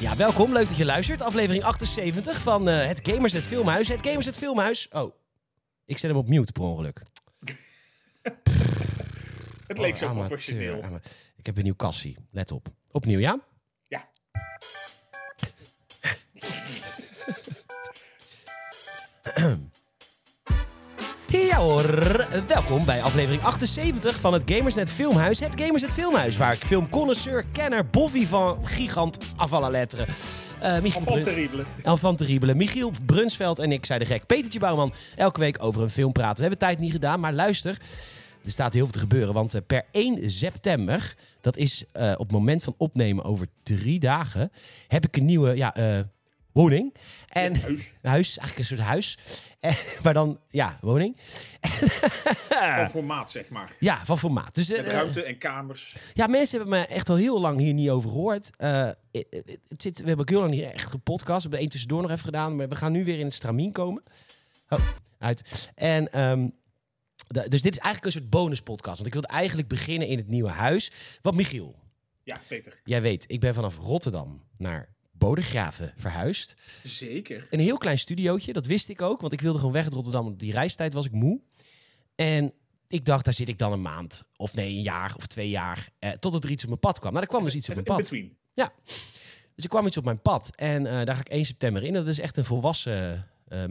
Ja, welkom. Leuk dat je luistert. Aflevering 78 van eh, het Gamers het Filmhuis. Het Gamers het Filmhuis. Oh, ik zet hem op mute per ongeluk. Het leek zo Oh, amateur, professioneel. ama- Ik heb een nieuw kassie. Let op. Opnieuw, ja? Ja. Ja hoor, welkom bij aflevering 78 van het Gamersnet Filmhuis. Het Gamersnet Filmhuis, waar ik filmconnoisseur, kenner, boffie van gigant af alle letteren. eh, Michiel Van Brun- terrible. El van Terribele, Michiel Brunsveld en ik, zei de gek, Petertje Bouwman, elke week over een film praten. We hebben tijd niet gedaan, maar luister, er staat heel veel te gebeuren. Want eh, per 1 september, dat is eh, op het moment van opnemen over drie dagen, heb ik een nieuwe ja, eh, woning. En, Huis. een huis, eigenlijk een soort huis. Eh, maar dan, ja, woning. Van formaat, zeg maar. Ja, van formaat. Dus, eh, Met ruimte en kamers. Ja, mensen hebben me echt al heel lang hier niet over gehoord. Eh, het- het- het zit, we hebben ook heel lang niet echt gepodcast. We hebben één tussendoor nog even gedaan. Maar we gaan nu weer in het stramien komen. Oh, uit. En, ehm, da- dus dit is eigenlijk een soort bonuspodcast. Want ik wilde eigenlijk beginnen in het nieuwe huis. Want Michiel, Ja, Peter. jij weet, ik ben vanaf Rotterdam naar Bodegraven verhuisd. Zeker. Een heel klein studiootje, dat wist ik ook. Want ik wilde gewoon weg uit Rotterdam. want Die reistijd was ik moe. En ik dacht, daar zit ik dan een maand. Of nee, een jaar of twee jaar. Eh, totdat er iets op mijn pad kwam. Nou, er kwam dus iets op Het mijn in pad. between. Dus er kwam iets op mijn pad. En eh, daar ga ik 1 september in. Dat is echt een volwassen eh,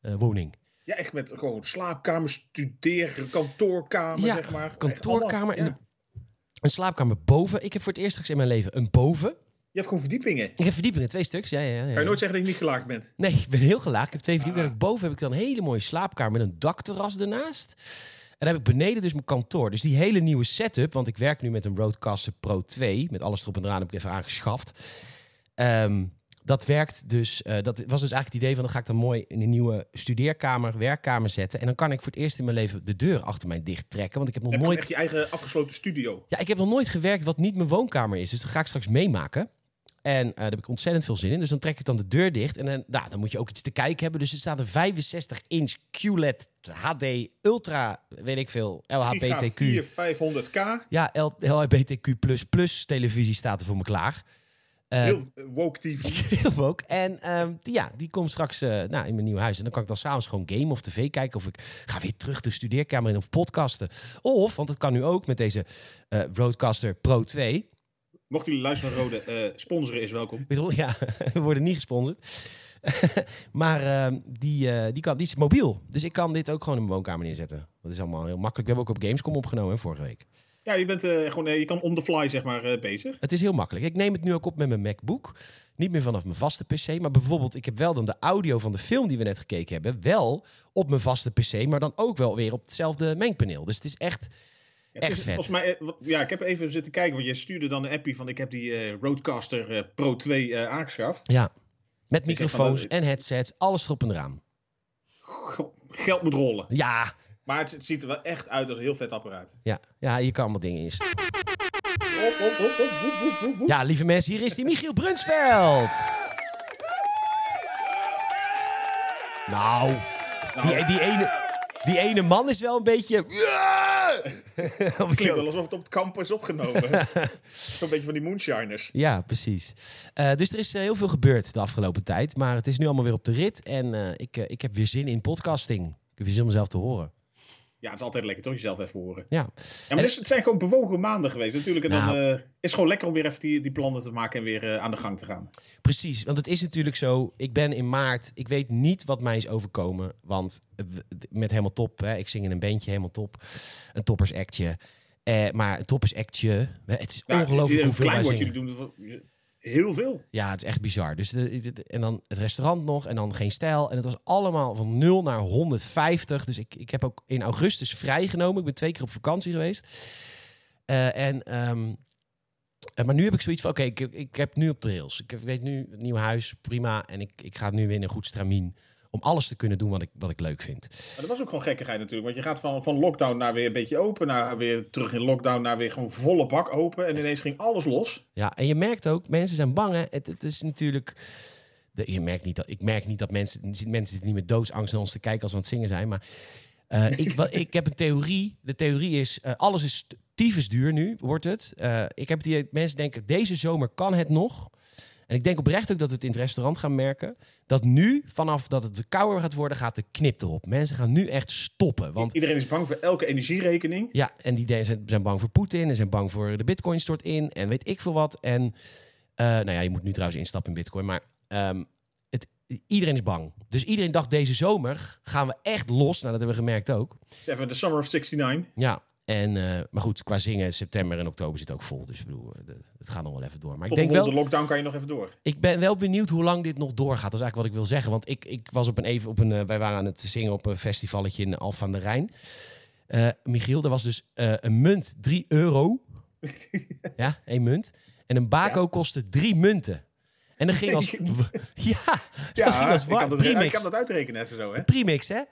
mensenwoning. Ja, echt met gewoon slaapkamer, studeer, kantoorkamer, Ja, zeg maar. Echt kantoorkamer allemaal, en Een slaapkamer boven. Ik heb voor het eerst straks in mijn leven een boven. Je hebt gewoon verdiepingen. Ik heb verdiepingen, twee stuks. Ja, ja, ja. Kan je nooit zeggen dat je niet gelaagd bent. Nee, ik ben heel gelaagd. Ik heb twee verdiepingen. Ah. En Boven heb ik dan een hele mooie slaapkamer met een dakterras ernaast. En dan heb ik beneden dus mijn kantoor. Dus die hele nieuwe setup, want ik werk nu met een Rodecaster Pro 2. Met alles erop en eraan heb ik even aangeschaft. Ehm, dat werkt dus, eh, dat was dus eigenlijk het idee van... dan ga ik dan mooi in een nieuwe studeerkamer, werkkamer zetten. En dan kan ik voor het eerst in mijn leven de deur achter mij dicht trekken. Want ik heb nog Dan heb je nooit echt je eigen afgesloten studio. ja, ik heb nog nooit gewerkt wat niet mijn woonkamer is. Dus dat ga ik straks meemaken. En eh, daar heb ik ontzettend veel zin in. Dus dan trek ik dan de deur dicht. En dan, nou, dan moet je ook iets te kijken hebben. Dus er staat een 65-inch QLED HD Ultra, weet ik veel, Giga LHBTQ. 4 500k. Ja, L- LHBTQ++ televisie staat er voor me klaar. Eh, Heel eh, woke TV. heel ook. En ehm, die, ja, die komt straks eh, nou, in mijn nieuw huis. En dan kan ik dan s'avonds gewoon game of tv kijken. Of ik ga weer terug de studeerkamer in of podcasten. Of, want dat kan nu ook met deze eh Roadcaster Pro 2. Mochten jullie luisteren naar Rode, eh, sponsoren is welkom. Weet je wel, Ja, we worden niet gesponsord. maar ehm, die, eh, die, kan, die is mobiel. Dus ik kan dit ook gewoon in mijn woonkamer neerzetten. Dat is allemaal heel makkelijk. We hebben ook op Gamescom opgenomen hè, vorige week. Ja, je bent eh, gewoon, eh, je kan on the fly, zeg maar, eh, bezig. Het is heel makkelijk. Ik neem het nu ook op met mijn MacBook. Niet meer vanaf mijn vaste PC. Maar bijvoorbeeld, ik heb wel dan de audio van de film die we net gekeken hebben. Wel op mijn vaste PC. Maar dan ook wel weer op hetzelfde mengpaneel. Dus het is echt. Ja, het Echt is vet. Volgens mij, eh, wat- ja, ik heb even zitten kijken, want je stuurde dan een appie van ik heb die eh, Roadcaster eh, Pro 2 eh, aangeschaft. Ja. Met zeg maar, microfoons dat- en headsets. Alles erop en eraan. Goh, Geld moet rollen. Ja. Maar het, het ziet er wel echt uit als een heel vet apparaat. Ja. Ja, je kan allemaal dingen instellen. Hop, hop, hop, hop, woep, woep, woep, woep. Ja, lieve mensen, hier is die Michiel Brunsveld. Nou, die, Nou, die, ene, die ene man is wel een beetje. klinkt wel alsof het op het kamp is opgenomen. Zo'n beetje van die moonshiners. Ja, precies. Eh, dus er is eh, heel veel gebeurd de afgelopen tijd. Maar het is nu allemaal weer op de rit. En eh, ik, eh, ik heb weer zin in podcasting. Ik heb weer zin om mezelf te horen. Ja, het is altijd lekker toch, jezelf even horen. Ja, Ja, maar dus, het zijn gewoon bewogen maanden geweest natuurlijk. En dan Nou. eh, is het gewoon lekker om weer even die, die plannen te maken en weer eh, aan de gang te gaan. precies. Want het is natuurlijk zo. Ik ben in maart. Ik weet niet wat mij is overkomen. Want eh, w- met helemaal top. Hè, ik zing in een bandje helemaal top. Een toppers actje. Eh, maar een toppers actje. hè, Het is Ja, ongelooflijk een hoeveel wij klein wat zingen. jullie doen. dat- Heel veel. Ja, het is echt bizar. Dus de, de- de- en dan het restaurant nog en dan geen stijl. En het was allemaal van 0 naar 150. Dus ik, ik heb ook in augustus vrijgenomen. Ik ben twee keer op vakantie geweest. Eh, en, ehm, eh, maar nu heb ik zoiets van, oké, ik, ik heb nu op de rails. Ik, heb- ik weet nu het nieuwe huis, prima. En ik, ik ga nu weer in een goed stramien om alles te kunnen doen wat ik, wat ik leuk vind. Maar dat was ook gewoon gekkigheid natuurlijk. Want je gaat van, van lockdown naar weer een beetje open, naar weer terug in lockdown, naar weer gewoon volle bak open. En ineens ging alles los. Ja, en je merkt ook, mensen zijn bang. Hè? Het, het is natuurlijk. De, je merkt niet dat, ik merk niet dat mensen, mensen zitten niet met doodsangst naar ons te kijken als we aan het zingen zijn. Maar eh, ik, wat, ik heb een theorie. De theorie is: eh, alles is tyfus duur nu, wordt het. Eh, ik heb die mensen denken: deze zomer kan het nog. En ik denk oprecht ook dat we het in het restaurant gaan merken. Dat nu, vanaf dat het kouder gaat worden, gaat de knip erop. Mensen gaan nu echt stoppen. Want Iedereen is bang voor elke energierekening. ja, en die de- zijn, zijn bang voor Poetin en zijn bang voor de bitcoin stort in en weet ik veel wat. En eh, nou ja, je moet nu trouwens instappen in bitcoin, maar ehm, het, iedereen is bang. Dus iedereen dacht deze zomer gaan we echt los. Nou, dat hebben we gemerkt ook. Dus even de Summer of 69. Ja, en, eh, maar goed, qua zingen, september en oktober zit ook vol. Dus ik bedoel, eh, de- het gaat nog wel even door. Maar ik Tot denk de wel, volgende lockdown kan je nog even door. ik ben wel benieuwd hoe lang dit nog doorgaat. Dat is eigenlijk wat ik wil zeggen. Want ik, ik was op een even op een. eh, wij waren aan het zingen op een festivalletje in Alphen aan de Rijn. Eh, Michiel, er was dus eh, een munt 3 euro. ja, één munt. En een bako kostte drie munten. En dan ging als. ja, dat ging als ik kan, war, dat, ik primix. kan dat uitrekenen even zo, hè? Primix, hè?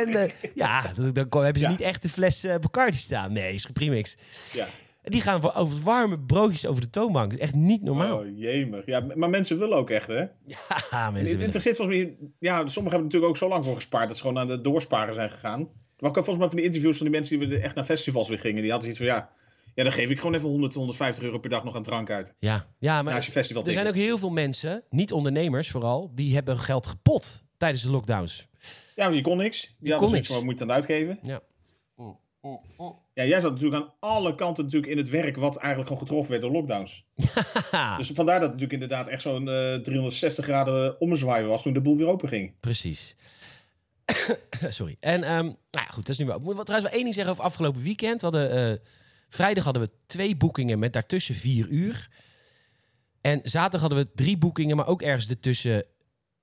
en eh, ja, dan, dan hebben ze Ja. niet echt de fles eh, Bacardi staan. Nee, is gepremix. Ja. En Die gaan voor- over warme broodjes over de toonbank. Dat is echt niet normaal. Oh, jemig. Ja, maar mensen willen ook echt, hè? Ja, Het mensen. willen- interesseert volgens mij... Ja, sommigen hebben er natuurlijk ook zo lang voor gespaard... dat ze gewoon aan de doorsparen zijn gegaan. Maar ik had volgens mij van die interviews van die mensen... die weer echt naar festivals weer gingen... die hadden iets van, ja... Ja, dan geef ik gewoon even 100, 150 euro per dag nog aan drank uit. Ja, ja maar Naast je festival er zijn ook heel veel mensen, niet ondernemers vooral, die hebben geld gepot tijdens de lockdowns. Ja, maar die kon niks. Die, kon hadden zoiets niks. van, wat moet je het aan uitgeven? Ja. Ja, jij zat natuurlijk aan alle kanten natuurlijk in het werk... wat eigenlijk gewoon getroffen werd door lockdowns. Haha, Dus vandaar dat het natuurlijk inderdaad echt zo'n eh, 360 graden omzwaai was... toen de boel weer open ging. precies. Sorry. En ehm, nou ja, goed, dat is nu wel. Ik moet wel trouwens wel één ding zeggen over afgelopen weekend. We hadden, eh, vrijdag hadden we twee boekingen met daartussen vier uur. En zaterdag hadden we drie boekingen, maar ook ergens ertussen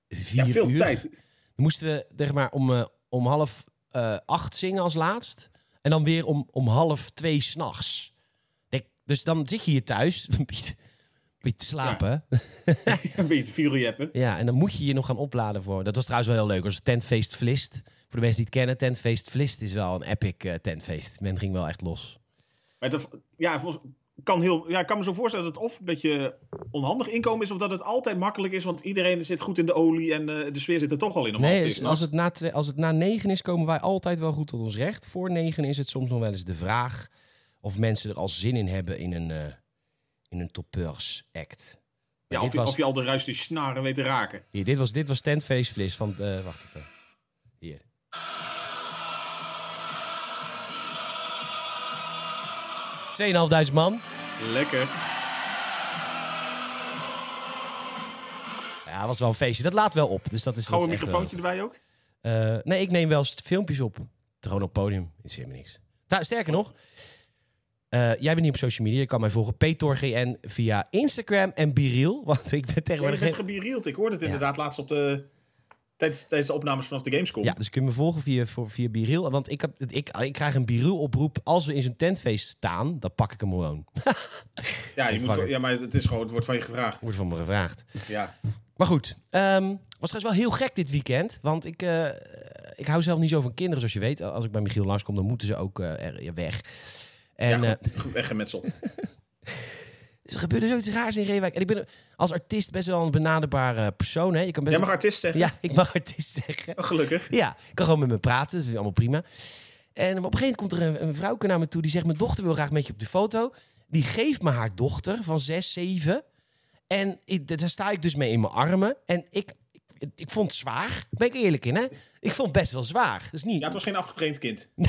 vier Ja, veel uur. tijd. Dan moesten we zeg maar om, eh, om half eh, acht zingen als laatst. En dan weer om, om half twee s'nachts. Dus dan zit je hier thuis, een beetje- een beetje te slapen. Ja. Een beetje te viereljeppen. en dan moet je je nog gaan opladen voor. Dat was trouwens wel heel leuk. Dat was Tentfeest Vlist. Voor de mensen die het kennen, Tentfeest Vlist is wel een epic eh, tentfeest. Men ging wel echt los. Maar dat, ja, volgens- kan heel, ja, ik kan me zo voorstellen dat het of een beetje onhandig inkomen is... of dat het altijd makkelijk is, want iedereen zit goed in de olie... en eh, de sfeer zit er toch al in. om half Nee, dus twee als, s'nachts. als, het na twee- als het na negen is, komen wij altijd wel goed tot ons recht. Voor negen is het soms nog wel eens de vraag of mensen er al zin in hebben in een, eh in een toppeurs act. ja, of, je, of je al de ruis die snaren weet te raken. Hier, dit was, dit was tentfeestvlis van... eh, wacht even. Hier. Tweeënhalfduizend man. Lekker. Ja, was wel een feestje. Dat laat wel op. Dus dat is, dat Gouden is echt microfoontje erbij ook. wel- Eh, nee, ik neem wel st- filmpjes op. Gewoon op podium. Is helemaal niks. Nou, sterker nog. eh, jij bent niet op social media. Je kan mij volgen. PTORGN via Instagram en Biriel. Want ik ben Ja, je tegenwoordig... bent gebirield. Ik hoorde het inderdaad laatst op de... Tijdens, tijdens de opnames vanaf de Gamescom. Ja, dus kun je me volgen via, voor, via Biril. Want ik, heb, ik, ik krijg een Biril-oproep. Als we in zo'n tentfeest staan, dan pak ik hem gewoon. Ja, je Ik moet, vang gewoon- het. ja, maar het, is gewoon, het wordt van je gevraagd. Wordt van me gevraagd. Ja. Maar goed, ehm, was trouwens wel heel gek dit weekend. Want ik, eh, ik hou zelf niet zo van kinderen, zoals je weet. Als ik bij Michiel langskom, dan moeten ze ook eh, er, ja, weg. En eh, ja, goed, echt gemetseld. dus er gebeurde zoiets raars in Reewijk. En ik ben als artiest best wel een benaderbare persoon. Hè? Je kan best Jij mag artiest zeggen. Ja, ik mag artiest zeggen. Oh, gelukkig. Ja, ik kan gewoon met me praten. Dat vind ik allemaal prima. En op een gegeven moment komt er een, een vrouwke naar me toe. Die zegt, mijn dochter wil graag met je op de foto. Die geeft me haar dochter van zes, zeven. En ik- daar sta ik dus mee in mijn armen. En ik, ik, ik vond het zwaar. Ben ik eerlijk in, hè? Ik vond het best wel zwaar. Dat is niet... Ja, het was geen afgetraind kind.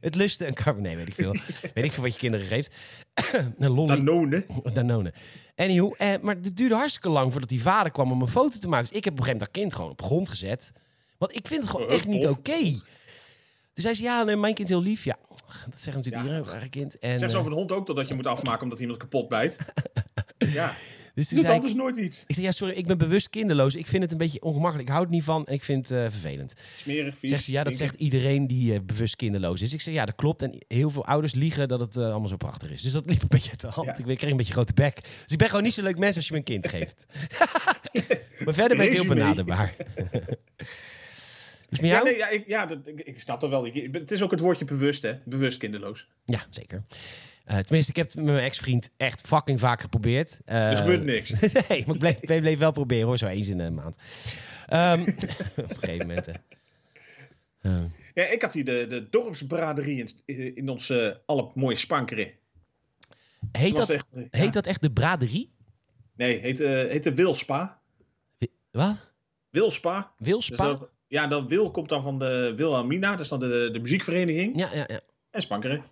Het lusten en karma... Nee, weet ik veel. weet ik veel wat je kinderen geeft. een lolly. Danone. Danone. Anyhow, eh, maar het duurde hartstikke lang voordat die vader kwam om een foto te maken. Dus ik heb op een gegeven moment dat kind gewoon op grond gezet. Want ik vind het gewoon Oh, echt niet tof. oké. Dus hij zei, ja, nee, mijn kind is heel lief. Ja, dat zeggen natuurlijk Ja. iedereen over haar kind. En, Zeg zo eh, van de hond ook dat je moet afmaken omdat iemand kapot bijt. Ja, dus toen doet zei ik, anders nooit iets. ik zei, ja, sorry, ik ben bewust kinderloos. Ik vind het een beetje ongemakkelijk. Ik hou het niet van en ik vind het eh, vervelend. Smerig, vies. Zegt ze, ja, dat stinken. zegt iedereen die eh, bewust kinderloos is. Ik zeg, ja, dat klopt. En heel veel ouders liegen dat het eh, allemaal zo prachtig is. Dus dat liep een beetje uit de hand. Ja. Ik kreeg een beetje grote bek. Dus ik ben gewoon niet zo'n leuk mens als je me een kind geeft. maar verder ben ik heel Resume. benaderbaar. dus met jou? Ja, Ja, nee, ja, ik, ja dat, ik, ik snap dat wel. Ik- het is ook het woordje bewust, hè. Bewust kinderloos. zeker. Eh, tenminste, ik heb het met mijn ex-vriend echt fucking vaak geprobeerd. Eh, Er gebeurt niks. nee, maar ik bleef, ik bleef wel proberen hoor, zo eens in een maand. Ehm, op een gegeven moment. hè. Ehm, Ja, ik had hier de, de dorpsbraderie in, in ons eh alle mooie spankeren. heet, dat, echt, eh, ja. heet dat echt de braderie? Nee, heet, eh heette Wilspa. Wat? Wilspa. Dus Wilspa? dat- ja, dat Wil komt dan van de Wilhelmina. Dat is dan de, de muziekvereniging. Ja, ja, ja. En Spankeren.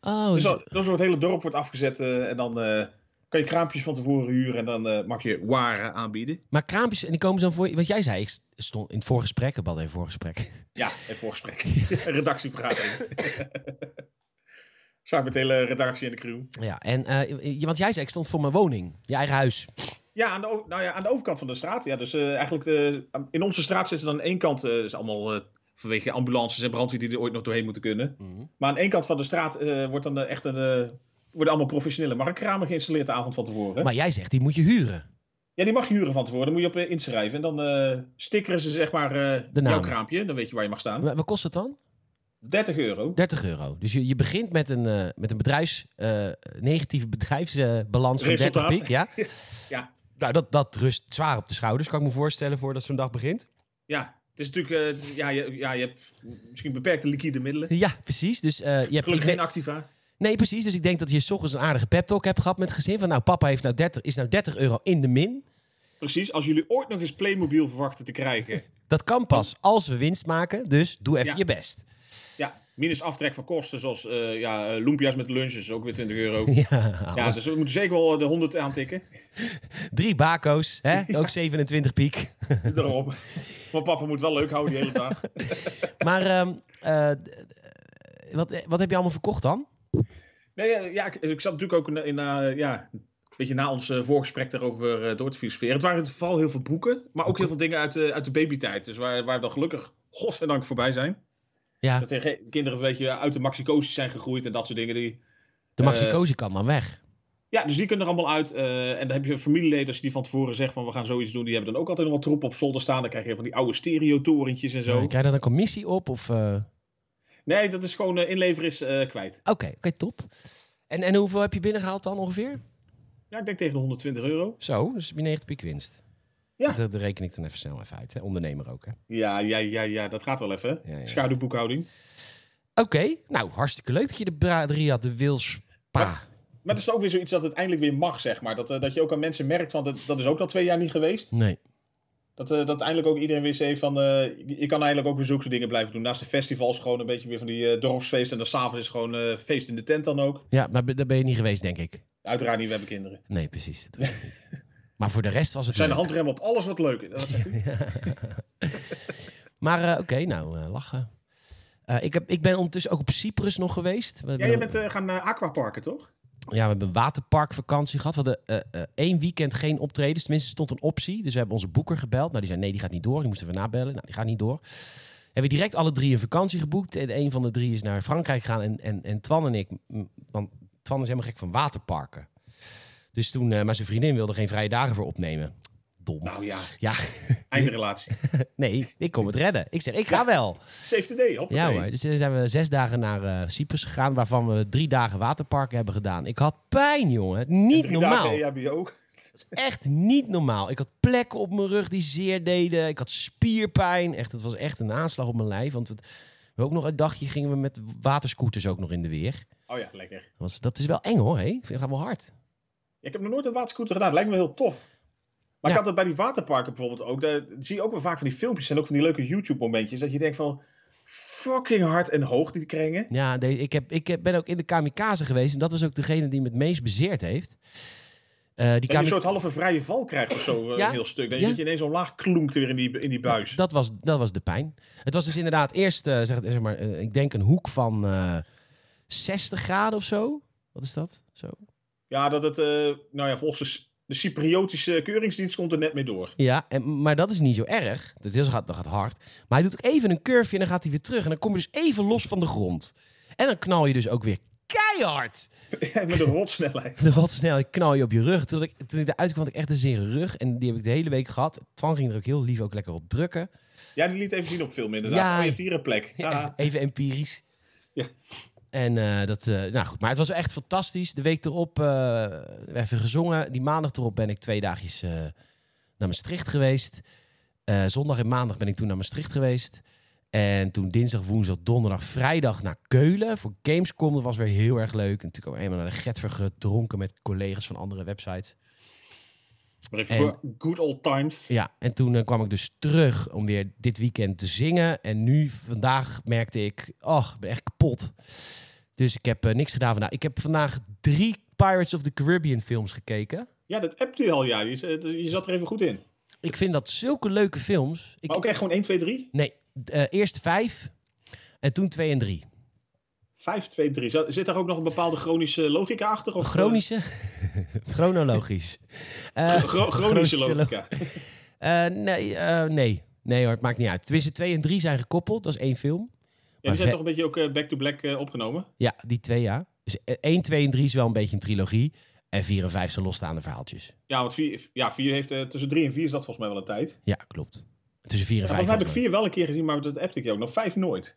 Oh, Dus dus- dat, dat wordt het hele dorp wordt afgezet. eh, en dan eh, kan je kraampjes van tevoren huren. En dan eh, mag je waren aanbieden. maar kraampjes, en die komen zo voor je. Wat jij zei, ik stond in het voorgesprek, we hadden een voorgesprek. Ja, en voorgesprek. Redactievergadering. Samen met de hele redactie en de crew. Ja, en eh, je- want jij zei, ik stond voor mijn woning, je eigen huis. Ja, aan de, o- nou ja, aan de overkant van de straat. Ja, dus eh, eigenlijk de, in onze straat zitten dan aan één kant. eh is allemaal eh, vanwege ambulances en brandweer die er ooit nog doorheen moeten kunnen. Maar aan één kant van de straat eh, wordt dan eh, echt een, eh, worden allemaal professionele marktkramen geïnstalleerd de avond van tevoren. Maar jij zegt, die moet je huren. Ja, die mag je huren van tevoren. Dan moet je op eh, inschrijven. En dan eh stickeren ze zeg maar eh, De naam. jouw kraampje. Dan weet je waar je mag staan. Wa- Wat kost het dan? 30 euro. 30 euro. Dus je, je begint met een, eh, met een bedrijfs, eh, negatieve bedrijfsbalans van 30 Resultaat. piek. Ja? Ja. Nou, dat, dat rust zwaar op de schouders, kan ik me voorstellen, voordat zo'n dag begint. Ja, het is natuurlijk... eh, ja, je, ja, je hebt misschien beperkte liquide middelen. Ja, precies. Dus eh, je hebt, ik Gelukkig denk- geen activa. nee, precies. Dus ik denk dat je 's ochtends een aardige pep talk hebt gehad met het gezin. Van nou, papa heeft nou 30, is nou 30 euro in de min. Precies. Als jullie ooit nog eens Playmobil verwachten te krijgen... Dat kan pas als we winst maken. Dus doe even Ja. je best. Ja, minus aftrek van kosten, zoals eh ja, eh, Lumpia's met lunch is ook weer 20 euro. Ja, Ja, dus we moeten zeker wel de 100 aantikken. drie bako's. Hè? Ook 27 piek. Daarom. Maar papa moet wel leuk houden die hele dag. Maar ehm, eh, d- eh, wat, eh, wat heb je allemaal verkocht dan? Nee, eh, ja, ik, ik zat natuurlijk ook in, in, eh, ja, een beetje na ons eh, voorgesprek daarover eh, door te filosoferen. Het waren in het geval heel veel boeken, maar ook heel veel dingen uit, de uit de babytijd. Dus waar, waar we dan gelukkig godzijdank voorbij zijn. Ja, Dat de ge- kinderen een beetje uit de maxicosis zijn gegroeid en dat soort dingen. Die, de Maxi eh, Cosi kan dan weg. Ja, dus die kunnen er allemaal uit. eh, en dan heb je familieleden als je die van tevoren zegt van we gaan zoiets doen. Die hebben dan ook altijd nog wat troep op zolder staan. Dan krijg je van die oude stereotorentjes en zo. Eh, Krijg je dan een commissie op? Of, eh, Nee, dat is gewoon eh, inleveren is eh, kwijt. Oké, oké, top. En, en hoeveel heb je binnengehaald dan ongeveer? Ja, ik denk tegen de 120 euro. Zo, dus heb je 90 piek winst. Ja. Dat, dat reken ik dan even snel even uit. Hè? Ondernemer ook, hè? Ja, ja, ja, ja, dat gaat wel even. Ja, ja. Schaduwboekhouding. Oké, nou hartstikke leuk dat je de bra- drie had, de Wilspa. Maar dat is ook weer zoiets dat het eindelijk weer mag, zeg maar. Dat, eh, dat je ook aan mensen merkt van dat, dat is ook al twee jaar niet geweest. Nee. Dat, eh, dat eindelijk ook iedereen weer heeft van eh, je je kan eigenlijk ook weer zulke dingen blijven doen. Naast de festivals gewoon een beetje weer van die eh, dorpsfeesten. En dan s'avonds is gewoon eh, feest in de tent dan ook. Ja, maar be- daar ben je niet geweest, denk ik. Uiteraard niet, we hebben kinderen. Nee, precies. Dat doe ik niet. Maar voor de rest was het Er zijn de leuk. handrem op alles wat leuk is. Dat zegt u. Maar eh, oké, nou, eh, lachen. Eh, ik, heb, ik ben ondertussen ook op Cyprus nog geweest. We Ja, hebben- jij bent eh, gaan naar aquaparken, toch? ja, we hebben een waterparkvakantie gehad. We hadden eh, eh, één weekend geen optredens. Tenminste, er stond een optie. Dus we hebben onze boeker gebeld. Nou, die zei nee, die gaat niet door. Die moesten we nabellen. Nou, die gaat niet door. Hebben we direct alle drie een vakantie geboekt. En een van de drie is naar Frankrijk gegaan. En, en, en Twan en ik, m, want Twan is helemaal gek van waterparken. Dus toen, eh, maar zijn vriendin wilde geen vrije dagen voor opnemen. Dom. Nou ja, Ja, eindrelatie. nee, ik kom het redden. Ik zeg, ik ga Ja. wel. Save the day, hoppatee. Ja hoor, dus toen zijn we zes dagen naar eh, Cyprus gegaan, waarvan we drie dagen waterpark hebben gedaan. Ik had pijn, jongen. En Niet drie normaal. dagen EHBO. Echt niet normaal. Ik had plekken op mijn rug die zeer deden. Ik had spierpijn. Echt, het was echt een aanslag op mijn lijf. Want het, we ook nog een dagje gingen we met waterscooters ook nog in de weer. Oh ja, lekker. Dat, was, dat is wel eng hoor, hé. Dat gaat wel hard. Ja, ik heb nog nooit een waterscooter gedaan. Lijkt me heel tof. Maar Ja. ik had dat bij die waterparken bijvoorbeeld ook. Daar zie je ook wel vaak van die filmpjes en ook van die leuke YouTube-momentjes. Dat je denkt van, fucking hard en hoog die kringen. Ja, de- ik, heb, ik heb, ben ook in de kamikaze geweest. En dat was ook degene die me het meest bezeerd heeft. Eh, die Dat je een kamikaze. soort halve vrije val krijgt of zo, eh, Ja. een heel stuk. Dat je, Ja. dat je ineens zo laag kloenkt weer in die, in die buis. Dat was, dat was de pijn. Het was dus inderdaad eerst, eh, zeg, zeg maar, eh, ik denk een hoek van eh 60 graden of zo. Wat is dat? Zo. Ja, dat het, eh, nou ja, volgens de, Cy- de Cypriotische keuringsdienst komt er net mee door. Ja, en, maar dat is niet zo erg. Dat, is, gaat, dat gaat hard. Maar hij doet ook even een curveje en dan gaat hij weer terug. En dan kom je dus even los van de grond. En dan knal je dus ook weer keihard. Met een rotsnelheid. De rotsnelheid knal je op je rug. Toen ik, toen ik eruit kwam had ik echt een zere rug. En die heb ik de hele week gehad. Twan ging er ook heel lief ook lekker op drukken. Ja, die liet even zien op film inderdaad. Ja. Oh, je hebt hier een plek. Ja, Ja. even empirisch. Ja. En eh, dat, eh, nou goed, maar het was wel echt fantastisch. De week erop eh, even gezongen. Die maandag erop ben ik twee dagjes eh, naar Maastricht geweest. Eh, zondag en maandag ben ik toen naar Maastricht geweest. En toen dinsdag, woensdag, donderdag, vrijdag naar Keulen voor Gamescom. Dat was weer heel erg leuk. En natuurlijk ook eenmaal naar de Getver gedronken met collega's van andere websites. Maar even En- voor good old times. Ja, en toen eh, kwam ik dus terug om weer dit weekend te zingen. En nu, vandaag, merkte ik, oh, ik ben echt kapot. Dus ik heb eh, niks gedaan vandaag. Ik heb vandaag drie Pirates of the Caribbean films gekeken. Ja, dat appt u al, ja. Je, z- je zat er even goed in. Ik vind dat zulke leuke films. Ik, Maar ook echt gewoon 1, 2, 3? Nee, d- eh, eerst vijf en toen twee en drie. 5, 2, 3. Zat- Zit daar ook nog een bepaalde chronische logica achter? Of, Chronische, chronologisch. eh, Eh, gro- chronische, chronische logica. eh, nee, eh, nee. nee hoor, het maakt niet uit. Tenminste, twee en drie zijn gekoppeld, dat is één film. Ja, die zijn ve- toch een beetje ook eh, back to black eh, opgenomen? Ja, die twee ja. Dus 1, 2 en 3 is wel een beetje een trilogie. En 4 en 5 zijn losstaande verhaaltjes. Ja, want 4 ja, vier heeft, eh, tussen 3 en 4 is dat volgens mij wel een tijd. Ja, klopt. Tussen 4 en Ja, 5. want dan heb ik 4 wel een keer gezien, maar dat appte ik je ook nog. 5 nooit.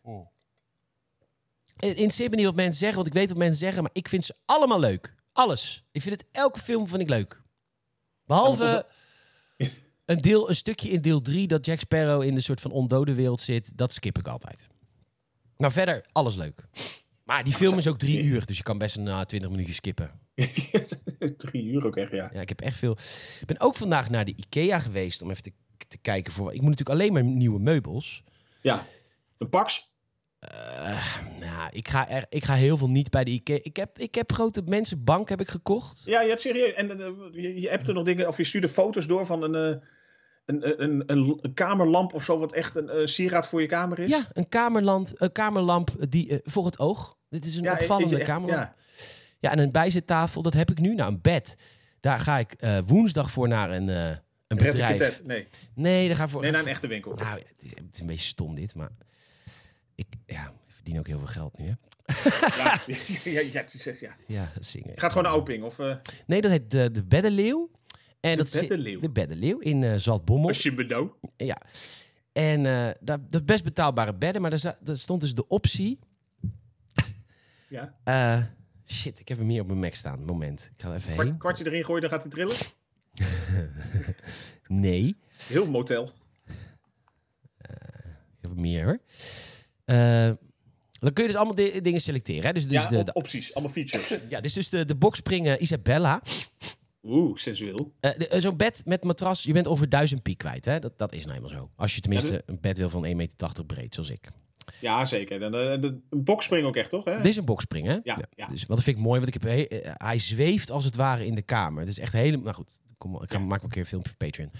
Interesseert me niet wat mensen zeggen, want ik weet wat mensen zeggen, maar ik vind ze allemaal leuk. Alles. Ik vind het, elke film vind ik leuk. Behalve Ja, want een, deel, een stukje in deel 3 dat Jack Sparrow in een soort van ondode wereld zit. Dat skip ik altijd. Maar verder, alles leuk. Maar die film is ook drie uur, dus je kan best een ah, 20 minuutjes skippen. 3 uur ook echt, ja. Ja, ik heb echt veel. Ik ben ook vandaag naar de IKEA geweest om even te, te kijken voor. Ik moet natuurlijk alleen maar nieuwe meubels. Ja. Een Pax? Eh, nou, ik ga, er, ik ga heel veel niet bij de IKEA. Ik heb, ik heb grote mensenbank heb ik gekocht. Ja, je hebt serieus. En eh, je, je appte nog dingen, of je stuurde foto's door van een, eh, een, een, een, een kamerlamp of zo, wat echt een eh, sieraad voor je kamer is. Ja, een, kamerland, een kamerlamp die, eh, voor het oog. Dit is een Ja, eh, opvallende eh, echt, kamerlamp. Ja. ja. en een bijzettafel, dat heb ik nu. Nou, een bed. Daar ga ik eh, woensdag voor naar een, eh, een Red bedrijf. Quitet, Nee, Nee, daar ga ik voor. nee, naar een echte winkel. Nou, het is, het is een beetje stom dit, maar ik ja, ik verdien ook heel veel geld nu, hè? Ja, ja, ja, het is echt, ja. Ja, zingen. Gaat gewoon naar Oping of eh Nee, dat heet de, de Beddenleeuw. En De dat zit- Beddenleeuw. de Beddenleeuw in eh Zaltbommel. als je bedoelt. Ja. En eh dat, dat best betaalbare bedden, maar daar, za- daar stond dus de optie. Ja. eh, shit, ik heb hem hier op mijn Mac staan. Moment, ik ga er even Kwart- heen. kwartje erin gooien, dan gaat hij trillen. Nee, ik Heel motel. heb hem hier hoor. Eh, dan kun je dus allemaal di- dingen selecteren. Hè? Dus, dus ja, de, op- de- opties, allemaal features. ja, dus, dus de, de boxspringen Isabella. Oeh, sensueel. Eh, de- eh, Zo'n bed met matras, je bent over duizend piek kwijt. Hè? Dat, dat is nou eenmaal zo. Als je tenminste Ja, dus- een bed wil van 1,80 meter breed, zoals ik. Ja, zeker. En, eh, de, een boxspring ook echt, toch? Hè? Dit is een boxspring, hè? Ja, ja. Dus wat vind ik mooi, want ik heb he- eh, hij zweeft als het ware in de kamer. Het is echt helemaal. Nou goed, kom, ik ga, Ja. maak wel een keer een filmpje voor Patreon.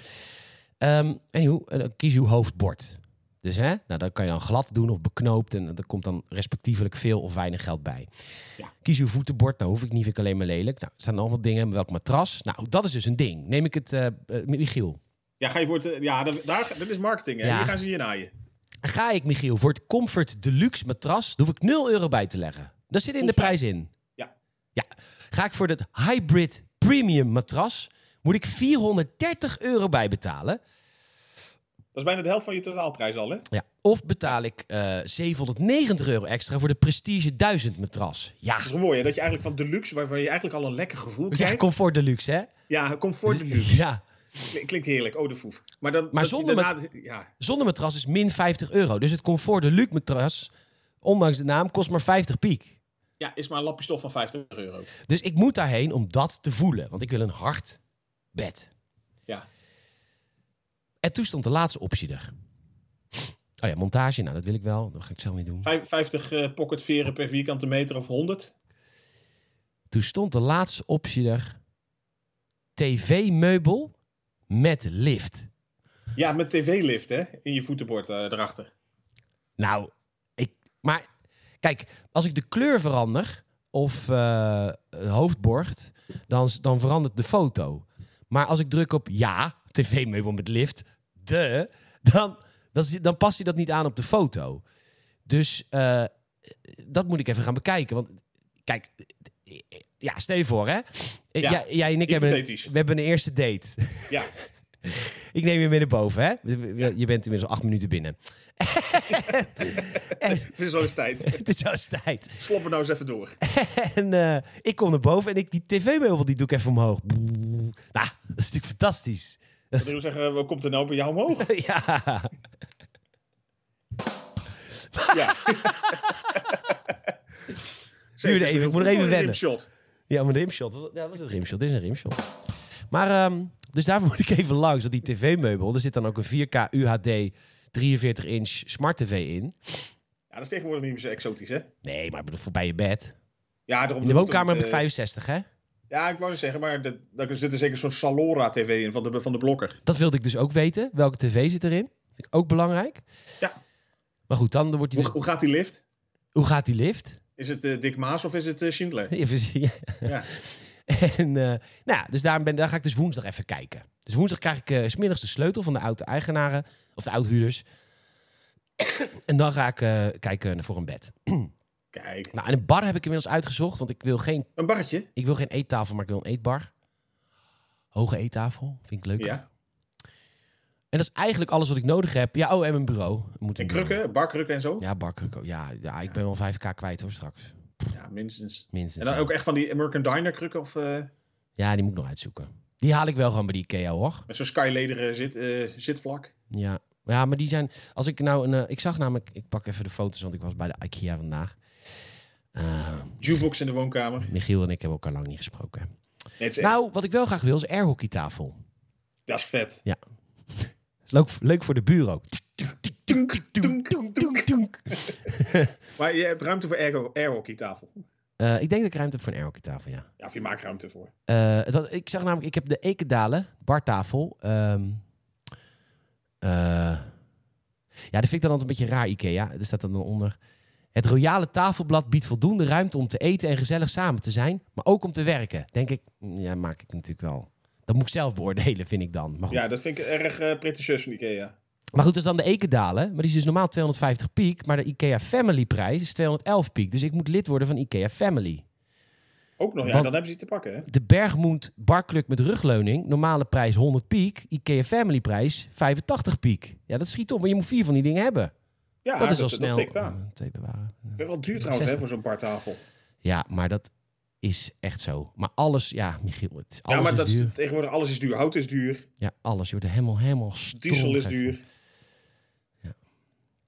Ehm anyhow, eh, dan kies je hoofdbord. Dus hè, nou, dat kan je dan glad doen of beknoopt. En er komt dan respectievelijk veel of weinig geld bij. Ja. Kies uw voetenbord, nou hoef ik niet, vind ik alleen maar lelijk. Nou, er staan allemaal dingen, welk matras. Nou, dat is dus een ding. Neem ik het, eh, eh, Michiel. Ja, ga je voor het, eh, ja dat, daar, dat is marketing. Hè? Ja. Hier gaan ze je naaien. Ga ik, Michiel, voor het Comfort Deluxe matras, daar hoef ik 0 euro bij te leggen. Dat zit in de Goed zo. prijs in. Ja. Ja. Ga ik voor dat Hybrid Premium matras, moet ik 430 euro bij betalen. Dat is bijna de helft van je totaalprijs al, hè? Ja. Of betaal ik eh 790 euro extra voor de Prestige 1000 matras. Ja. Dat is wel mooi, hè? Dat je eigenlijk van deluxe, waarvan je eigenlijk al een lekker gevoel Ja, krijgt. Ja, Comfort Deluxe, hè? comfort deluxe. Ja. Kli- Klinkt heerlijk, oh de foef. Maar, dan, Maar dat je zonder daarna- ja. Zonder matras is min 50 euro. Dus het Comfort Deluxe matras, ondanks de naam, kost maar 50 piek. ja, is maar een lapje stof van 50 euro. Dus ik moet daarheen om dat te voelen. Want ik wil een hard bed. Ja. En toen stond de laatste optie er. Oh ja, montage. Nou, dat wil ik wel. Dat ga ik zelf niet doen. Vijf- 50 eh, pocketveren per vierkante meter of 100. Toen stond de laatste optie er. TV-meubel met lift. Ja, met tv-lift, hè? In je voetenbord eh, erachter. Nou, ik... Maar kijk, als ik de kleur verander of eh, het hoofdbord, dan, dan verandert de foto. Maar als ik druk op ja, tv-meubel met lift, de, dan, dan, zie- dan past hij dat niet aan op de foto. Dus eh, dat moet ik even gaan bekijken. Want kijk, ja, stel je voor hè. Ja, jij, jij en ik hebben een, hypothetisch. we hebben een eerste date. Ja. ik neem je mee naar boven hè. Je bent inmiddels al acht minuten binnen. Het is wel eens tijd. Het is zo eens tijd. Sloppen nou eens even door. En eh, ik kom naar boven en ik, die tv-meubel die doe ik even omhoog. Nou, dat is natuurlijk fantastisch. Dat Dat is- wil zeggen, wat komt er nou bij jou omhoog? ja. Ja. Duurde even, ik moet er even wennen. Shot. ja, maar een rimshot. Ja, dat was een rimshot. Dit is een rimshot. Maar ehm, Dus daarvoor moet ik even langs, dat die tv-meubel. Er zit dan ook een 4K UHD 43-inch smart tv in. Ja, dat is tegenwoordig niet meer zo exotisch, hè? Nee, maar ik bedoel, voorbij je bed. Ja, daarom In de doe woonkamer heb ik het, eh, 65, hè? Ja, ik wou het zeggen, maar de, daar zit er zeker zo'n Salora-tv in van de, van de blokker. Dat wilde ik dus ook weten. Welke tv zit erin? Vind ik ook belangrijk. Ja. Maar goed, dan wordt die Hoe, dus... hoe gaat die lift? Hoe gaat die lift? Is het eh, Dick Maas of is het eh, Schindler? Even zien. Ja. En eh, nou, ja, dus daarom ben, daar ga ik dus woensdag even kijken. Dus woensdag krijg ik eh, 's smiddags de sleutel van de oude eigenaren of de oud-huurders. en dan ga ik eh, kijken voor een bed. Kijk, Nou, en een bar heb ik inmiddels uitgezocht, want ik wil geen, een barretje. ik wil geen eettafel, maar ik wil een eetbar. Hoge eettafel, vind ik leuk. Ja. En dat is eigenlijk alles wat ik nodig heb. Ja, oh, en mijn bureau. Er Moet En een bureau. krukken, barkrukken en zo. Ja, Ja, barkrukken. ook. Ja, ja, ik ben wel 5k kwijt hoor straks. minstens. En Minstens. dan ja. ook echt van die American Diner krukken of eh, Ja, die moet ik nog uitzoeken. Die haal ik wel gewoon bij die IKEA hoor. met zo'n skylederen zit, eh, zitvlak. Ja. ja, maar die zijn. Als ik nou een. eh, ik zag namelijk. Ik pak even de foto's, want ik was bij de IKEA vandaag. Eh, Jukebox in de woonkamer. Nee, Michiel en ik hebben elkaar lang niet gesproken. het is echt- Nou, wat ik wel graag wil is een airhockeytafel. dat is vet. Is Leuk, leuk voor de bureau. Tunk, tunk, tunk, tunk. Maar je hebt ruimte voor air, airhockeytafel. Eh, ik denk dat ik ruimte heb voor een airhockeytafel, ja. Ja, of je maakt ruimte voor. Eh, het was- ik zag namelijk, ik heb de Ekendalen bartafel. ehm, eh, ja, dat vind ik dan altijd een beetje raar, Ikea. Er staat dan onder. Het royale tafelblad biedt voldoende ruimte om te eten en gezellig samen te zijn. Maar ook om te werken. Denk ik, mm, ja, maak ik natuurlijk wel. Dat moet ik zelf beoordelen, vind ik dan. Maar goed, Ja, dat vind ik erg eh, pretentieus van Ikea. maar goed dat is dan de Ekendalen. Maar die is dus normaal 250 piek. Maar de Ikea Family prijs is 211 piek. Dus ik moet lid worden van Ikea Family. Ook nog, ja, Want- dan hebben ze die te pakken, hè? De Bergmoed Barkluk met rugleuning. Normale prijs 100 piek. IKEA Family prijs 85 piek. Ja, dat schiet op. Maar je moet vier van die dingen hebben. Ja, dat is al snel. tikt aan. Eh, Twee bewaren. Ik vind het wel duur trouwens, hè, Zestig. voor zo'n bartafel. Ja, maar dat is echt zo. Maar alles, ja, Michiel, het, alles Ja, maar is dat, duur. tegenwoordig alles is duur. Hout is duur, Ja, alles. Je wordt er helemaal, helemaal diesel is stroomgek duur. van.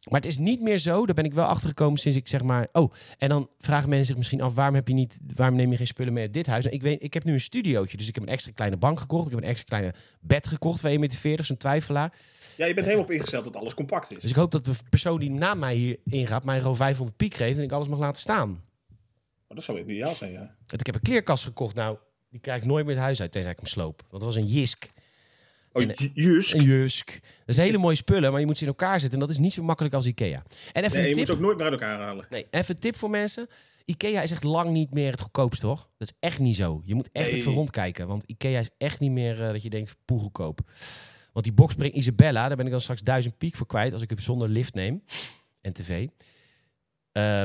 Maar het is niet meer zo. Daar ben ik wel achter gekomen sinds ik zeg maar. Oh, en dan vragen mensen zich misschien af: waarom, heb je niet, waarom neem je geen spullen mee uit dit huis? Nou, ik, weet, ik heb nu een studiootje. Dus ik heb een extra kleine bank gekocht. Ik heb een extra kleine bed gekocht. 2,40 meter, zo'n twijfelaar. Ja, je bent helemaal op ingesteld dat alles compact is. Dus ik hoop dat de persoon die na mij hier ingaat, mij gewoon 500 piek geeft en ik alles mag laten staan. Maar dat zou ideaal zijn, ja. Want ik heb een kleerkast gekocht. Nou, die krijg ik nooit meer het huis uit, tenzij ik hem sloop. Want dat was een jisk. Oh, En- ju- juist. Een jusk. Dat is hele mooie spullen, maar je moet ze in elkaar zetten. En dat is niet zo makkelijk als Ikea. En even Nee, een je moet tip. ze ook nooit meer uit elkaar halen. Nee, even een tip voor mensen. Ikea is echt lang niet meer het goedkoopst, toch? Dat is echt niet zo. Je moet echt Nee. even rondkijken. Want Ikea is echt niet meer eh, dat je denkt, poeh, goedkoop. Want die boxspring Isabella, daar ben ik dan straks duizend piek voor kwijt... als ik hem zonder lift neem en tv. Eh,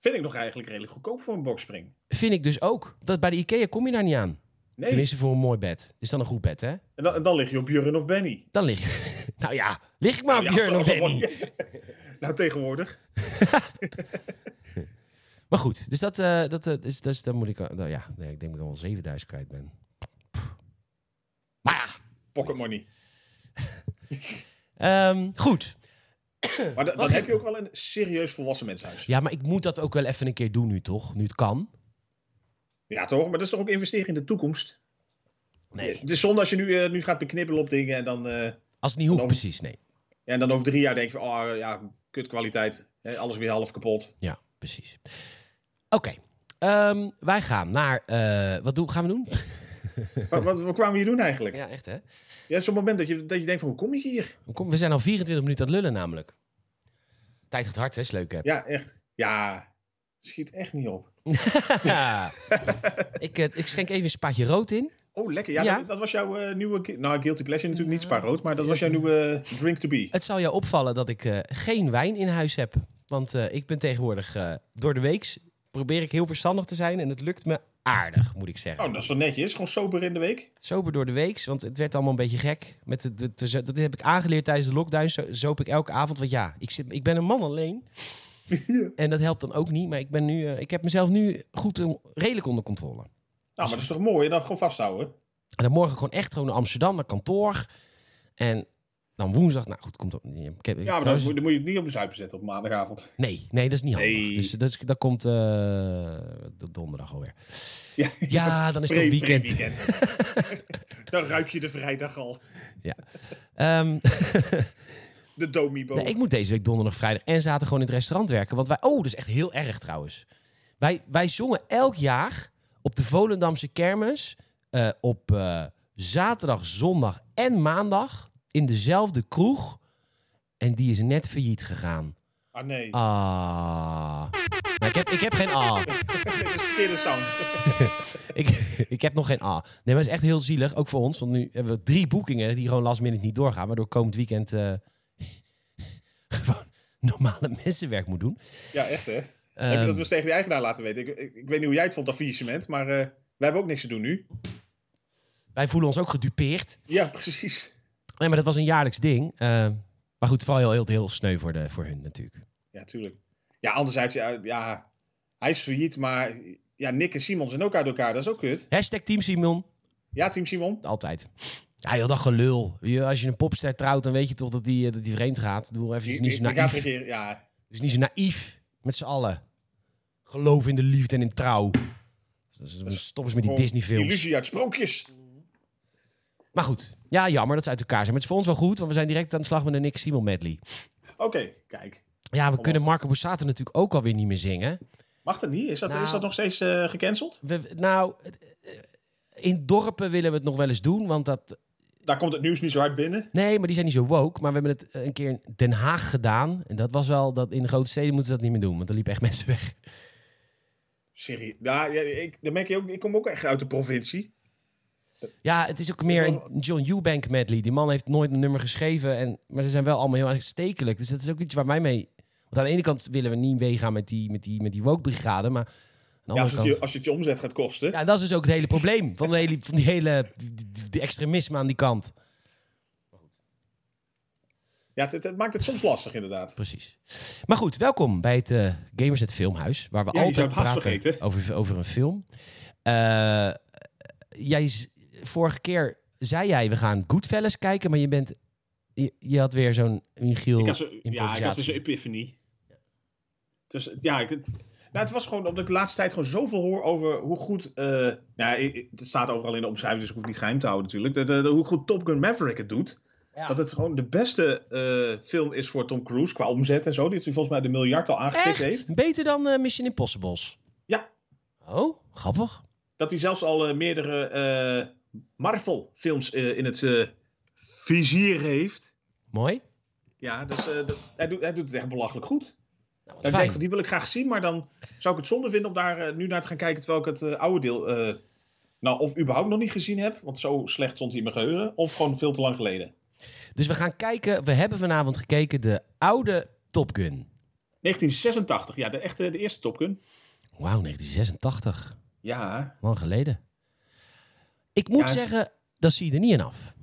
Vind ik nog eigenlijk redelijk goedkoop voor een boxspring. Vind ik dus ook. Dat bij de IKEA kom je daar niet aan. Nee, Tenminste voor een mooi bed. Is dan een goed bed, hè? en dan, en dan lig je op Björn of Benny. Dan lig je... nou ja, lig ik maar Nou op ja, Björn als- of als- als- Danny. Nou, tegenwoordig. Maar goed, dus dat, eh, dat, eh, dus, dus, dan moet ik... al- Nou ja, nee, ik denk dat ik al 7000 kwijt ben. Maar Pocket money. ja, ehm, goed. Maar da- dan Wacht heb je even. ook wel een serieus volwassen menshuis. Ja. Ja, maar ik moet dat ook wel even een keer doen nu, toch? Nu het kan. toch? Maar dat is toch ook investeren in de toekomst? Nee. Het is zonde als je nu, eh, nu gaat beknibbelen op dingen en dan, eh, ja, Als het niet hoeft, Dan- precies, nee. en dan over drie jaar denk je van, oh ja, kutkwaliteit. Hè, alles weer half kapot. Ja, precies. Oké. ehm, wij gaan naar... eh, wat doen, gaan we doen? wat, wat, wat kwamen we hier doen eigenlijk? Ja, Ja, echt, hè? Zo'n moment dat je, dat je denkt van, hoe kom je hier? Hoe kom- We zijn al 24 minuten aan het lullen namelijk. Tijd gaat hard, hè? Is leuk, hè? Ja, echt. Ja, schiet echt niet op. ik, eh, ik schenk even een spaatje rood in. Oh, lekker. Ja, Ja. Dat, dat was jouw eh, nieuwe... gui- Nou, Guilty Pleasure natuurlijk niet, Spa Rood. Maar dat was jouw nieuwe eh, drink to be. Het zal jou opvallen dat ik eh, geen wijn in huis heb. Want eh, ik ben tegenwoordig eh, door de weeks... probeer ik heel verstandig te zijn en het lukt me aardig, moet ik zeggen. Oh, dat is wel netjes. Gewoon sober in de week. Sober door de weeks, want het werd allemaal een beetje gek. Met de, de- de- dat heb ik aangeleerd tijdens de lockdown. Zo, zoop ik elke avond. Want ja, ik, zit, ik ben een man alleen. En dat helpt dan ook niet. Maar ik, ben nu, eh, ik heb mezelf nu goed, on- redelijk onder controle. Nou, maar dat is toch mooi? En dan gewoon vasthouden. En dan morgen gewoon echt gewoon naar Amsterdam, naar kantoor. En Dan woensdag, nou goed, komt op. Ik heb, ik Ja, maar dan, trouwens- moet- dan moet je het niet op de zuipen zetten op maandagavond. Nee, nee, dat is niet handig. Nee. Dus dat, is, dat komt eh, de donderdag alweer. Ja, Ja, dan is het een weekend. pre-weekend. dan ruik je de vrijdag al. Ehm, De domibo. nee, ik moet deze week donderdag, vrijdag en zaterdag gewoon in het restaurant werken. Want wij, oh, dat is echt heel erg trouwens. Wij, wij zongen elk jaar op de Volendamse kermis eh, op eh, zaterdag, zondag en maandag in dezelfde kroeg. En die is net failliet gegaan. Ah nee, Ah. Maar ik, heb, ik heb geen ah. dat is verkeerde sound. ik, ik heb nog geen A. Nee, maar het is echt heel zielig, ook voor ons. Want nu hebben we drie boekingen die gewoon last minute niet doorgaan. Waardoor komend weekend eh, gewoon normale mensenwerk moet doen. Ja, echt hè. Heb je dat Ehm, dus tegen die eigenaar laten weten? Ik, ik, ik weet niet hoe jij het vond, dat faillissement, maar eh, wij hebben ook niks te doen nu. Wij voelen ons ook gedupeerd. Ja, precies. Nee, maar dat was een jaarlijks ding. Eh, maar goed, vooral heel, heel, heel sneu voor, de, voor hun natuurlijk. Ja, tuurlijk. Ja, anderzijds, ja, ja, hij is failliet, maar ja, Nick en Simon zijn ook uit elkaar. Dat is ook kut. Hashtag Team Simon, Ja, team Simon. altijd. Ja, heel dat gelul. Je- Als je een popster trouwt, dan weet je toch dat die, eh, dat die vreemd gaat. Doe maar even iets niet zo Die- die gaat naïef. regeren, Ja, Dus niet zo naïef met z'n allen. Geloof in de liefde en in trouw. Dus Stop eens met die gewoon Disney-films. illusie uit sprookjes. Maar goed, ja, jammer dat ze uit elkaar zijn. Maar het is voor ons wel goed, want we zijn direct aan de slag met een Nick Simon medley. Oké, kijk. Ja, we kunnen Marco Borsato natuurlijk ook alweer niet meer zingen. Mag dat niet? Is dat, Nou. is dat nog steeds eh, gecanceld? We, nou, het- eh, in dorpen willen we het nog wel eens doen, want dat... Daar komt het nieuws niet zo hard binnen. Nee, maar die zijn niet zo woke. Maar we hebben het eh, een keer in Den Haag gedaan. En dat was wel, dat in de grote steden moeten ze dat niet meer doen, want er liepen echt mensen weg. Serie. Ja, nou, ja, ik, dan merk je ook, ik kom ook echt uit de Oh provincie. Ja, het is ook meer een John Eubank medley. Die man heeft nooit een nummer geschreven. En, maar ze zijn wel allemaal heel aanstekelijk. Dus dat is ook iets waar mij mee... Want aan de ene kant willen we niet meegaan met die, met die, met die woke-brigade. Maar aan de Ja, als, andere het kant... je, als het je omzet gaat kosten. Ja, dat is dus ook het hele probleem. Van, de hele, van die hele die, die extremisme aan die kant. Ja, het, het maakt het soms lastig inderdaad. Precies. Maar goed, welkom bij het eh Gamers het Filmhuis. Waar we Ja, je altijd zou het haast praten vergeten. over, over een film. Eh, jij, z- vorige keer zei jij, we gaan Goodfellas kijken. Maar je bent... Je, je had weer zo'n Michiel... Ik had zo, ja, ik had dus improvisatie. een epiphanie. Dus ja, ik, nou, het was gewoon omdat ik de laatste tijd gewoon zoveel hoor over hoe goed. eh, nou, ja, ik- ik- het staat overal in de omschrijving, dus ik hoef het niet geheim te houden natuurlijk. Dat, dat- hoe goed Top Gun Maverick het doet. Ja. Dat het gewoon de beste eh, film is voor Tom Cruise qua omzet en zo. Die hij volgens mij de miljard al aangetikt Echt? heeft. Beter dan eh, Mission Impossibles? Ja. Oh, grappig. Dat hij zelfs al eh, meerdere eh, Marvel-films eh, in het eh, vizier heeft. Mooi. Ja, dus eh, dat- hij, doet, hij doet het echt belachelijk goed. Nou, wat Ja, ik fijn. denk van die wil ik graag zien, maar dan zou ik het zonde vinden om daar eh, nu naar te gaan kijken terwijl ik het eh, oude deel eh, nou of überhaupt nog niet gezien heb, want zo slecht stond hij in mijn geheugen, of gewoon veel te lang geleden. Dus we gaan kijken. We hebben vanavond gekeken de oude Top Gun. 1986, ja, de echte, de eerste Top Gun. Wauw, 1986. Ja, Lang geleden. Ik moet Ja, is- zeggen, dat zie je er niet in af.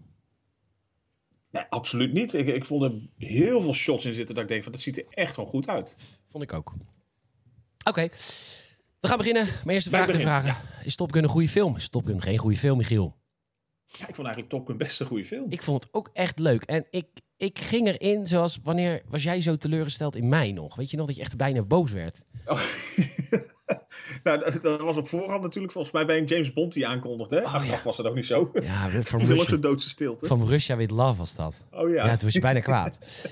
nee, absoluut niet. Ik, ik vond er heel veel shots in zitten dat ik denk van dat ziet er echt gewoon goed uit. Vond ik ook. Oké. We gaan beginnen. Mijn eerste Wij vraag te beginnen, vragen. Is Top Gun een goede film? Is Top Gun geen goede film, Michiel? Ja, ik vond eigenlijk Top Gun best een goede film. Ik vond het ook echt leuk. En ik, ik ging erin zoals... Wanneer was jij zo teleurgesteld in mij nog? Weet je nog dat je echt bijna boos werd? Oh. nou, dat, dat was op voorhand natuurlijk volgens mij bij een James Bond die aankondigde. hè? Oh, Achteraf ja. was dat ook niet zo. Ja, we- van Toen viel ook Russia, zo'n doodse stilte. van Russia with Love was dat. Oh Ja, toen was je bijna kwaad.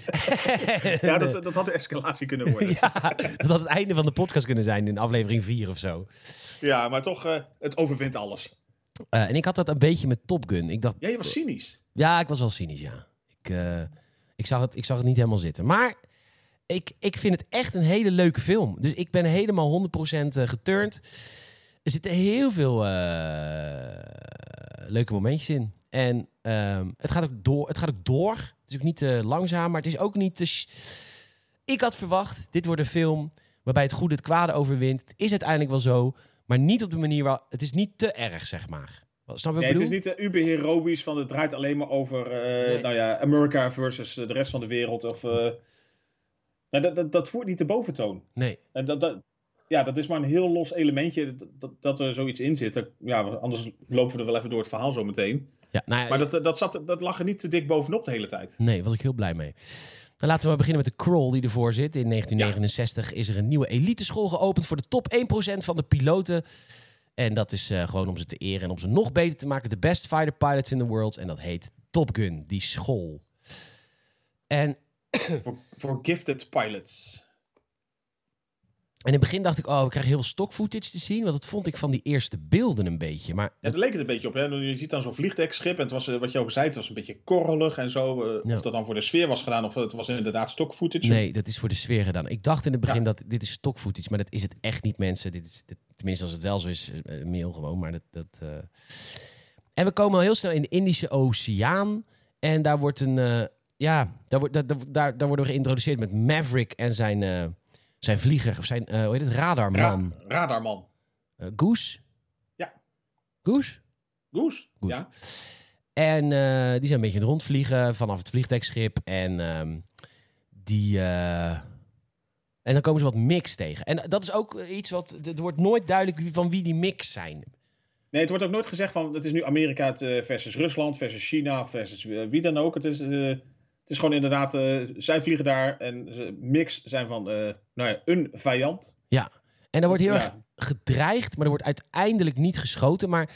Ja, dat, dat had een escalatie kunnen worden. ja. Ja, dat had het einde van de podcast kunnen zijn in aflevering 4 of zo. maar toch, eh, het overwint alles. Eh, en ik had dat een beetje met Top Gun. Ik dacht, Ja, je was cynisch. ja, ik was wel cynisch, ja. Ik, eh, ik, zag, het, ik zag het niet helemaal zitten. Maar ik, ik vind het echt een hele leuke film. Dus ik ben helemaal 100% geturnd. Er zitten heel veel eh, leuke momentjes in. En ehm, het, gaat ook door, het gaat ook door. Het is ook niet te langzaam, maar het is ook niet te... sh- Ik had verwacht, dit wordt een film waarbij het goede het kwade overwint. Het is uiteindelijk wel zo, maar niet op de manier waar... Het is niet te erg, zeg maar. Snap je wat ik Nee, het bedoel? is niet eh, uberheroïsch van het draait alleen maar over eh, Nee. nou ja, America versus eh, de rest van de wereld. Of, eh, nou, dat, dat, dat voert niet de boventoon. Nee. En dat, dat, ja, dat is maar een heel los elementje dat, dat, dat er zoiets in zit. Dat- ja, anders lopen we er wel even door het verhaal zo meteen. Ja, nou ja, Maar dat, eh, dat, zat, dat lag er niet te dik bovenop de hele tijd. Nee, was ik heel blij mee. Dan laten we maar beginnen met de crawl die ervoor zit. In 1969 is er een nieuwe eliteschool geopend voor de top 1% van de piloten. En dat is eh, gewoon om ze te eren en om ze nog beter te maken. De best fighter pilots in the world. En dat heet Top Gun, die school. En Hm. Voor, voor gifted pilots. En in het begin dacht ik, oh, we krijgen heel veel stock footage te zien. Want dat vond ik van die eerste beelden een beetje. Maar Ja, daar leek het een beetje op. Hè? Je ziet dan zo'n vliegdekschip. En het was, eh, wat je ook zei, het was een beetje korrelig en zo. eh, Ja. Of dat dan voor de sfeer was gedaan. Of het was inderdaad stock footage. nee, dat is voor de sfeer gedaan. Ik dacht in het begin dat dit is stock footage. Maar dat is het echt niet, mensen. Dit is, dit- tenminste, als het wel zo is, eh, eh, mail gewoon. Maar dat... dat eh. En we komen al heel snel in de Indische Oceaan. En daar wordt een... eh, ja, daar, wordt, daar, daar, daar worden we geïntroduceerd met Maverick en zijn, eh, zijn vlieger. Of zijn, eh hoe heet het? Ra- Radarman. radarman. Eh, Goose? Ja. Goose? Goes. Goes. Ja. En eh, die zijn een beetje aan het rondvliegen vanaf het vliegdekschip. En ehm, die. eh, en dan komen ze wat mix tegen. En dat is ook iets wat. Het wordt nooit duidelijk wie- van wie die mix zijn. Nee, het wordt ook nooit gezegd van het is nu Amerika het, eh, versus Rusland, versus China, versus eh, wie dan ook. Het is, eh, het is gewoon inderdaad, eh, zij vliegen daar en ze mix zijn van eh, nou ja, een vijand. En er wordt heel Ja. erg gedreigd, maar er wordt uiteindelijk niet geschoten. Maar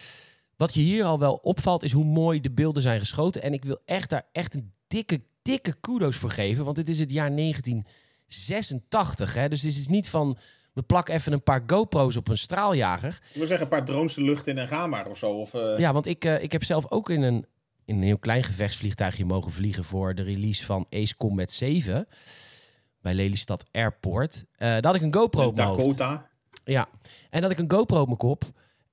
wat je hier al wel opvalt, is hoe mooi de beelden zijn geschoten. En ik wil echt daar echt een dikke, dikke kudo's voor geven. Want dit is het jaar 1986. Hè? Dus dit is niet van. We plakken even een paar GoPro's op een straaljager. Ik wil zeggen, een paar drones de lucht in en ga maar of zo. Of, eh, Ja, want ik, eh, ik heb zelf ook in een, in een heel klein gevechtsvliegtuigje mogen vliegen voor de release van Ace Combat 7 bij Lelystad Airport. Eh, daar had ik een GoPro op mijn hoofd. Dakota. Ja, en dat ik een GoPro op mijn kop.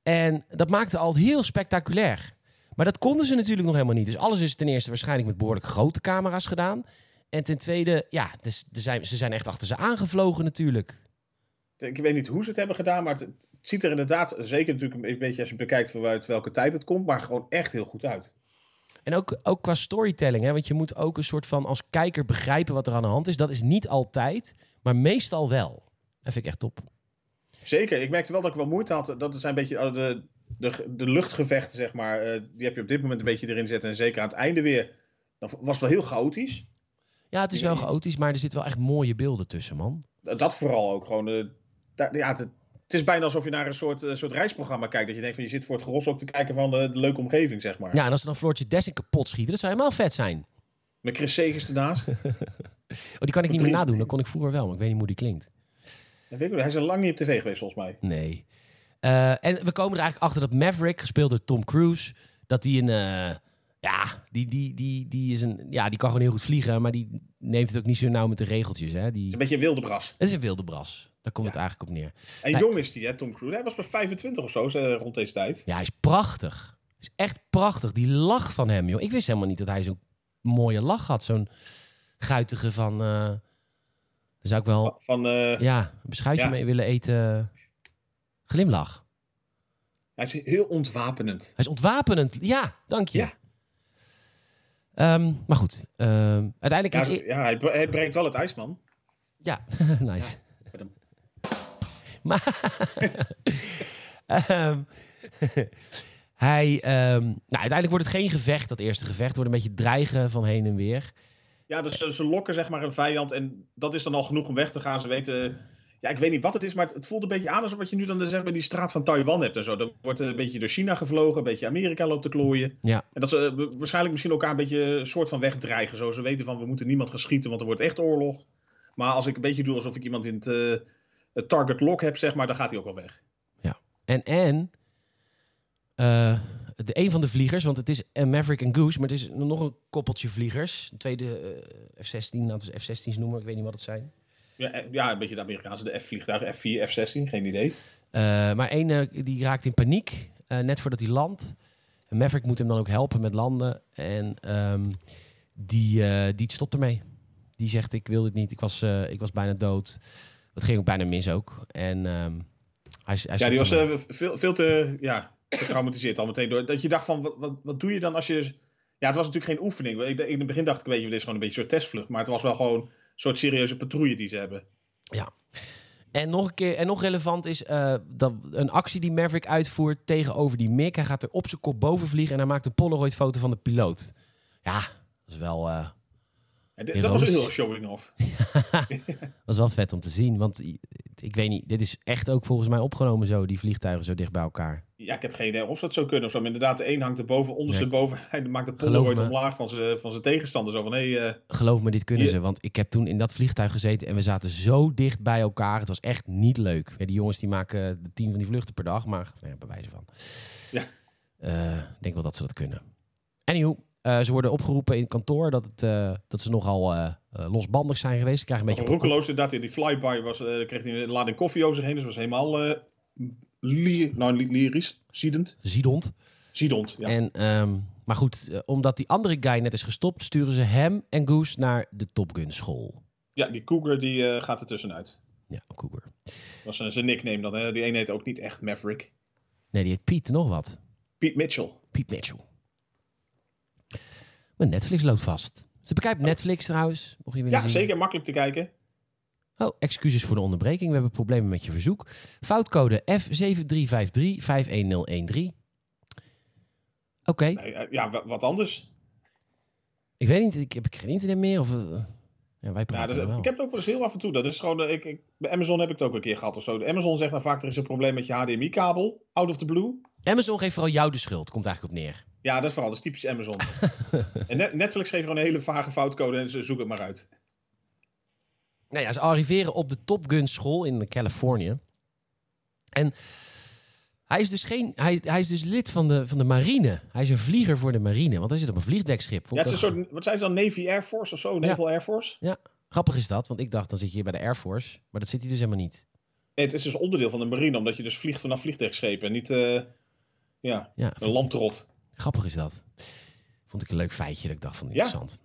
En dat maakte al heel spectaculair. Maar dat konden ze natuurlijk nog helemaal niet. Dus alles is ten eerste waarschijnlijk met behoorlijk grote camera's gedaan. En ten tweede, ja, dus, er zijn, ze zijn echt achter ze aangevlogen natuurlijk. Ik weet niet hoe ze het hebben gedaan, maar het, het ziet er inderdaad, zeker natuurlijk een beetje als je bekijkt vanuit welke tijd het komt, maar gewoon echt heel goed uit. En ook, ook qua storytelling, hè? want je moet ook een soort van als kijker begrijpen wat er aan de hand is. Dat is niet altijd, maar meestal wel. Dat vind ik echt top. Zeker, ik merkte wel dat ik wel moeite had. Dat zijn een beetje eh, de, de, de luchtgevechten, zeg maar. eh, die heb je op dit moment een beetje erin zitten. En zeker aan het einde weer. Dat was wel heel chaotisch. Ja, het is wel chaotisch, maar er zitten wel echt mooie beelden tussen, man. Dat vooral ook gewoon. eh, daar- ja, het, het is bijna alsof je naar een soort, eh, soort reisprogramma kijkt. Dat je denkt van je zit voor het gros ook te kijken van eh, de, de leuke omgeving, zeg maar. Ja, en als ze dan Floortje Dessing kapot schieten, dat zou helemaal vet zijn. Met Chris Segers ernaast. Oh, die kan ik niet meer Drie- nadoen, dat kon ik vroeger wel, maar ik weet niet hoe die klinkt. Dat weet ik, niet, hij is al lang niet op tv geweest, volgens mij. Nee. Eh, en we komen er eigenlijk achter dat Maverick, gespeeld door Tom Cruise, dat die een. eh, ja, die, die, die, die is een, ja, die kan gewoon heel goed vliegen, maar die neemt het ook niet zo nauw met de regeltjes. Hè? Het is Die, een beetje een wilde bras. het is een wilde bras. Daar komt het eigenlijk op neer. En Nee. jong is die, hè, Tom Cruise. Hij was pas 25 of zo, eh, rond deze tijd. Ja, hij is prachtig. Hij is echt prachtig. Die lach van hem, joh. Ik wist helemaal niet dat hij zo'n mooie lach had. Zo'n guitige van... eh daar zou ik wel Van, eh, Oh. ja, een beschuitje Ja. mee willen eten. Glimlach. Hij is heel ontwapenend. Hij is ontwapenend. Ja, dank je. Ja. Ehm, maar goed, ehm, Ja, uiteindelijk... zo- ja hij, bre- hij breekt wel het ijs, man. Ja, nice. Met een- Maar Ehm, hij, ehm, nou, uiteindelijk wordt het geen gevecht, dat eerste gevecht. Het wordt een beetje dreigen van heen en weer. Ja, dus ze, ze lokken zeg maar een vijand en dat is dan al genoeg om weg te gaan. Ze weten, eh, ja, ik weet niet wat het is, maar het, het voelt een beetje aan alsof wat je nu dan zeg maar die straat van Taiwan hebt en zo. Dan wordt er een beetje door China gevlogen, een beetje Amerika loopt te klooien. Ja. En dat ze eh, wa- waarschijnlijk misschien elkaar een beetje een soort van wegdreigen. Zo, ze weten van, we moeten niemand gaan schieten, want er wordt echt oorlog. Maar als ik een beetje doe alsof ik iemand in het, eh, het target lock heb, zeg maar, dan gaat hij ook wel weg. En, en eh, de een van de vliegers, want het is een Maverick en Goose, maar het is nog een koppeltje vliegers. Een tweede eh, F-16, laten we ze F-16's noemen, ik weet niet wat het zijn. Ja, eh, ja een beetje de Amerikaanse, de F-vliegtuigen, F4, F-16, geen idee. Eh, maar één eh, die raakt in paniek, eh, net voordat hij landt. En Maverick moet hem dan ook helpen met landen. En ehm, die, eh, die stopt ermee. Die zegt, ik wil dit niet, ik was, eh, ik was bijna dood. Dat ging ook bijna mis ook. En ehm, hij, hij Ja, stopt die was ermee. eh, veel, veel te ja, getraumatiseerd al meteen. Door, dat je dacht van, wat, wat, wat doe je dan als je... Ja, het was natuurlijk geen oefening. Ik, in het begin dacht ik, weet je, dit is gewoon een beetje een soort testvlucht. Maar het was wel gewoon een soort serieuze patrouille die ze hebben. En nog, een keer, en nog relevant is eh, dat een actie die Maverick uitvoert tegenover die Mick. Hij gaat er op zijn kop boven vliegen en hij maakt een Polaroid-foto van de piloot. Ja, dat is wel, eh, En dit- dat was Heroïs. heel showing off. dat is wel vet om te zien. Want i- ik weet niet, dit is echt ook volgens mij opgenomen zo, die vliegtuigen zo dicht bij elkaar. Ja, ik heb geen idee of ze dat zou kunnen of zo. Maar inderdaad, de een hangt er boven, onderste Nee. boven. Hij maakt de Geloof polaroid me. omlaag van zijn van zijn tegenstander. Zo van, hé, hey, eh, Geloof me, dit kunnen Je- ze. Want ik heb toen in dat vliegtuig gezeten en we zaten zo dicht bij elkaar. Het was echt niet leuk. Ja, die jongens die maken eh, de tien van die vluchten per dag, maar nou ja, bij wijze van. Ja. Eh, ik denk wel dat ze dat kunnen. Anywho, eh, ze worden opgeroepen in het kantoor dat, het, eh, dat ze nogal eh, eh, losbandig zijn geweest. Ze krijgen een beetje... op- roekeloos inderdaad. in Die flyby was, eh, kreeg hij een lading koffie over zich heen. Dus was helemaal eh lier, nou, niet lyrisch, ziedend. Ziedond. Ziedend, ja. En, ehm, maar goed, eh, omdat die andere guy net is gestopt, sturen ze hem en Goose naar de Top Gun school. Ja, die cougar die eh, gaat er tussenuit. Ja, Cougar. Dat was eh, zijn nickname dan. Hè? Die ene heet ook niet echt Maverick. Nee, die heet Piet nog wat. Pete Mitchell. Piet Mitchell. Maar Netflix loopt vast. Ze bekijkt Netflix trouwens. Mocht je willen Oh. Ja, zien. zeker. Makkelijk te kijken. Oh, excuses voor de onderbreking. We hebben problemen met je verzoek. Foutcode F7353-51013. Oké, Nee, eh, ja, wa- wat anders. ik weet niet. Ik heb ik geen internet meer. Of, eh, ja, wij Ja, praten dat- wel. ik heb het ook wel eens heel af en toe. Dat is gewoon, eh, ik, ik- bij Amazon heb ik het ook een keer gehad of zo. De Amazon zegt dan vaak, er is een probleem met je HDMI-kabel. Out of the blue. Amazon geeft vooral jou de schuld. Komt eigenlijk op neer. Ja, dat is vooral, dat is typisch Amazon. en Net- Netflix geeft gewoon een hele vage foutcode en ze zoek het maar uit. Nou ja, ze arriveren op de Top Gun school in Californië. En hij is dus, geen, hij, hij is dus lid van de, van de marine. Hij is een vlieger voor de marine. Want hij zit op een vliegdekschip. Ja, het is een soort, wat zijn ze dan, Navy Air Force of zo? Naval Air Force? Grappig is dat, want ik dacht dan zit je hier bij de Air Force. Maar dat zit hij dus helemaal niet. Nee, het is dus onderdeel van de marine, omdat je dus vliegt vanaf vliegtuigschepen. en Niet, eh, ja, Ja, een vind- landrot. grappig is dat. Vond ik een leuk feitje dat ik dacht van Ja. interessant.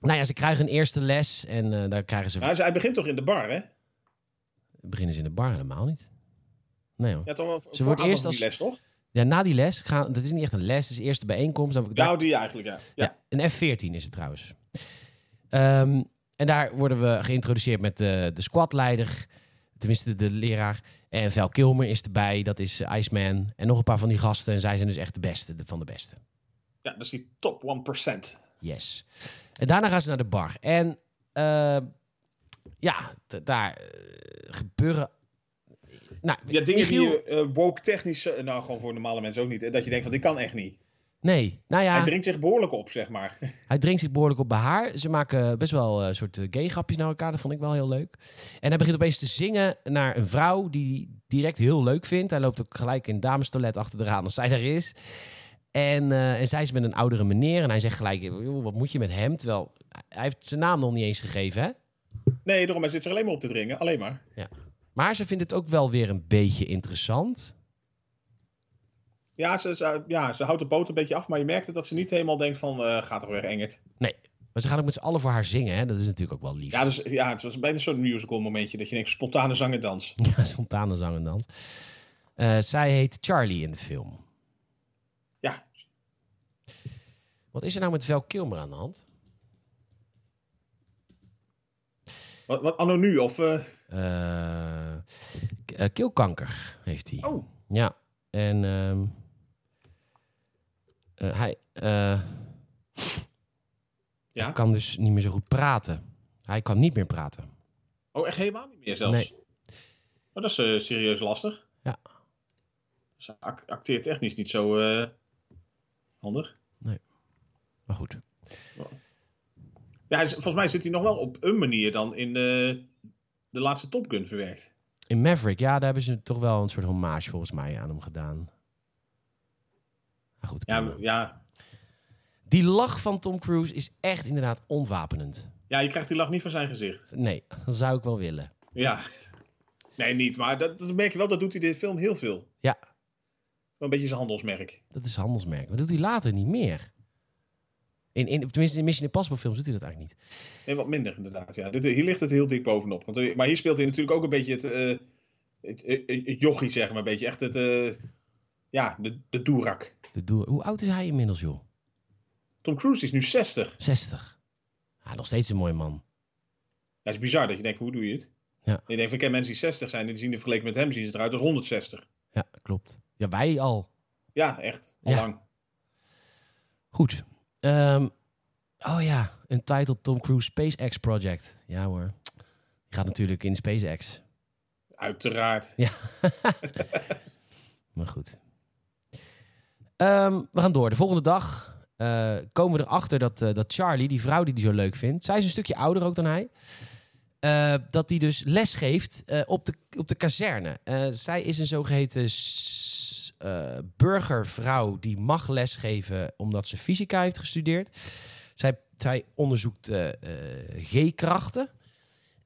Nou ja, ze krijgen een eerste les en eh, daar krijgen ze... Nou, hij begint toch in de bar, hè? Beginnen ze in de bar helemaal niet. Nee hoor. Ja. Ja, toch wel voor- Ze voor wordt eerst aanvang als- die les, toch? na die les, gaan, dat is niet echt een les, dat is eerst de bijeenkomst. Dan heb ik daar- Nou, die eigenlijk, ja. ja. Ja, een F-14 is het trouwens. Ehm, en daar worden we geïntroduceerd met de, de squadleider, tenminste de leraar. En Val Kilmer is erbij, dat is eh, Iceman. En nog een paar van die gasten. En zij zijn dus echt de beste de- van de beste. Ja, dat is die top 1%. Yes. En daarna gaan ze naar de bar. En eh, ja, d- daar eh, gebeuren... Nou, Ja, dingen Michiel- die eh woke technisch, eh, nou gewoon voor normale mensen ook niet. eh, Dat je denkt van, dit kan echt niet. Nee, nou ja, Hij drinkt zich behoorlijk op, zeg maar. hij drinkt zich behoorlijk op bij haar. Ze maken best wel een soort eh, gay grapjes naar elkaar. Dat vond ik wel heel leuk. En hij begint opeens te zingen naar een vrouw die hij direct heel leuk vindt. Hij loopt ook gelijk in damestoilet achter de raam als zij daar is. En, eh, en zij is met een oudere meneer. En hij zegt gelijk, "Joh, wat moet je met hem? Terwijl hij heeft zijn naam nog niet eens gegeven, hè? Nee, daarom, hij zit zich alleen maar op te dringen. Alleen maar. Maar ze vindt het ook wel weer een beetje interessant. Ja ze, ze- ja, ze houdt de boot een beetje af, maar je merkt het dat ze niet helemaal denkt van, eh, gaat toch weer Engert. Maar ze gaan ook met z'n allen voor haar zingen, hè? Dat is natuurlijk ook wel lief. Ja, dus, ja, het was bijna zo'n musical momentje dat je denkt, spontane zangendans. Ja, spontane zang en dans. Eh, zij heet Charlie in de film. Ja. Wat is er nou met Val Kilmer aan de hand? Wat, wat anno nu, of... eh, Eh, k- eh, keelkanker heeft hij. oh, Ja. En ehm, eh, hij eh, Ja? hij kan dus niet meer zo goed praten. Hij kan niet meer praten. oh, echt helemaal niet meer zelfs. Nee. Oh, dat is eh, serieus lastig. Ja. Ze ac- acteert technisch niet zo eh, handig. Maar goed. Ja, hij is- volgens mij zit hij nog wel op een manier dan in eh, de laatste Top Gun verwerkt. In Maverick, ja, daar hebben ze toch wel een soort hommage volgens mij aan hem gedaan. Maar goed, Ja, prima. ja, Die lach van Tom Cruise is echt inderdaad ontwapenend. ja, je krijgt die lach niet van zijn gezicht. Nee, dat zou ik wel willen. Ja. Nee, niet. Maar dat, dat merk je wel, dat doet hij in de film heel veel. Ja. Wel Een beetje zijn handelsmerk. Dat is handelsmerk. Maar dat doet hij later niet meer. In, in, tenminste, in Mission Impossible films doet hij dat eigenlijk niet. En wat minder inderdaad. Ja. Dit, hier ligt het heel dik bovenop. Want, eh, maar hier speelt hij natuurlijk ook een beetje het, eh, het, eh, het, jochie, zeg maar. Een beetje echt het, eh, ja, de, de doerak. De doer- Hoe oud is hij inmiddels, joh? Tom Cruise is nu 60. 60. Ja, nog steeds een mooi man. Dat is bizar dat je denkt, hoe doe je het? Ja. En je denkt, van, ik ken mensen die 60 zijn, die zien er vergeleken met hem zien ze eruit als 160. Ja, klopt. Ja, wij al. Ja, echt. Al Ja. lang. Goed. Ehm, oh ja, een title Tom Cruise SpaceX Project. Ja hoor. Die gaat natuurlijk in SpaceX. Uiteraard. Maar goed. Ehm, we gaan door. De volgende dag eh, komen we erachter dat, eh, dat Charlie, die vrouw die hij zo leuk vindt... Zij is een stukje ouder ook dan hij. eh, dat die dus les geeft eh, op, de, op de kazerne. Eh, zij is een zogeheten s- eh, burgervrouw die mag lesgeven omdat ze fysica heeft gestudeerd. Zij, zij onderzoekt eh, eh, G-krachten.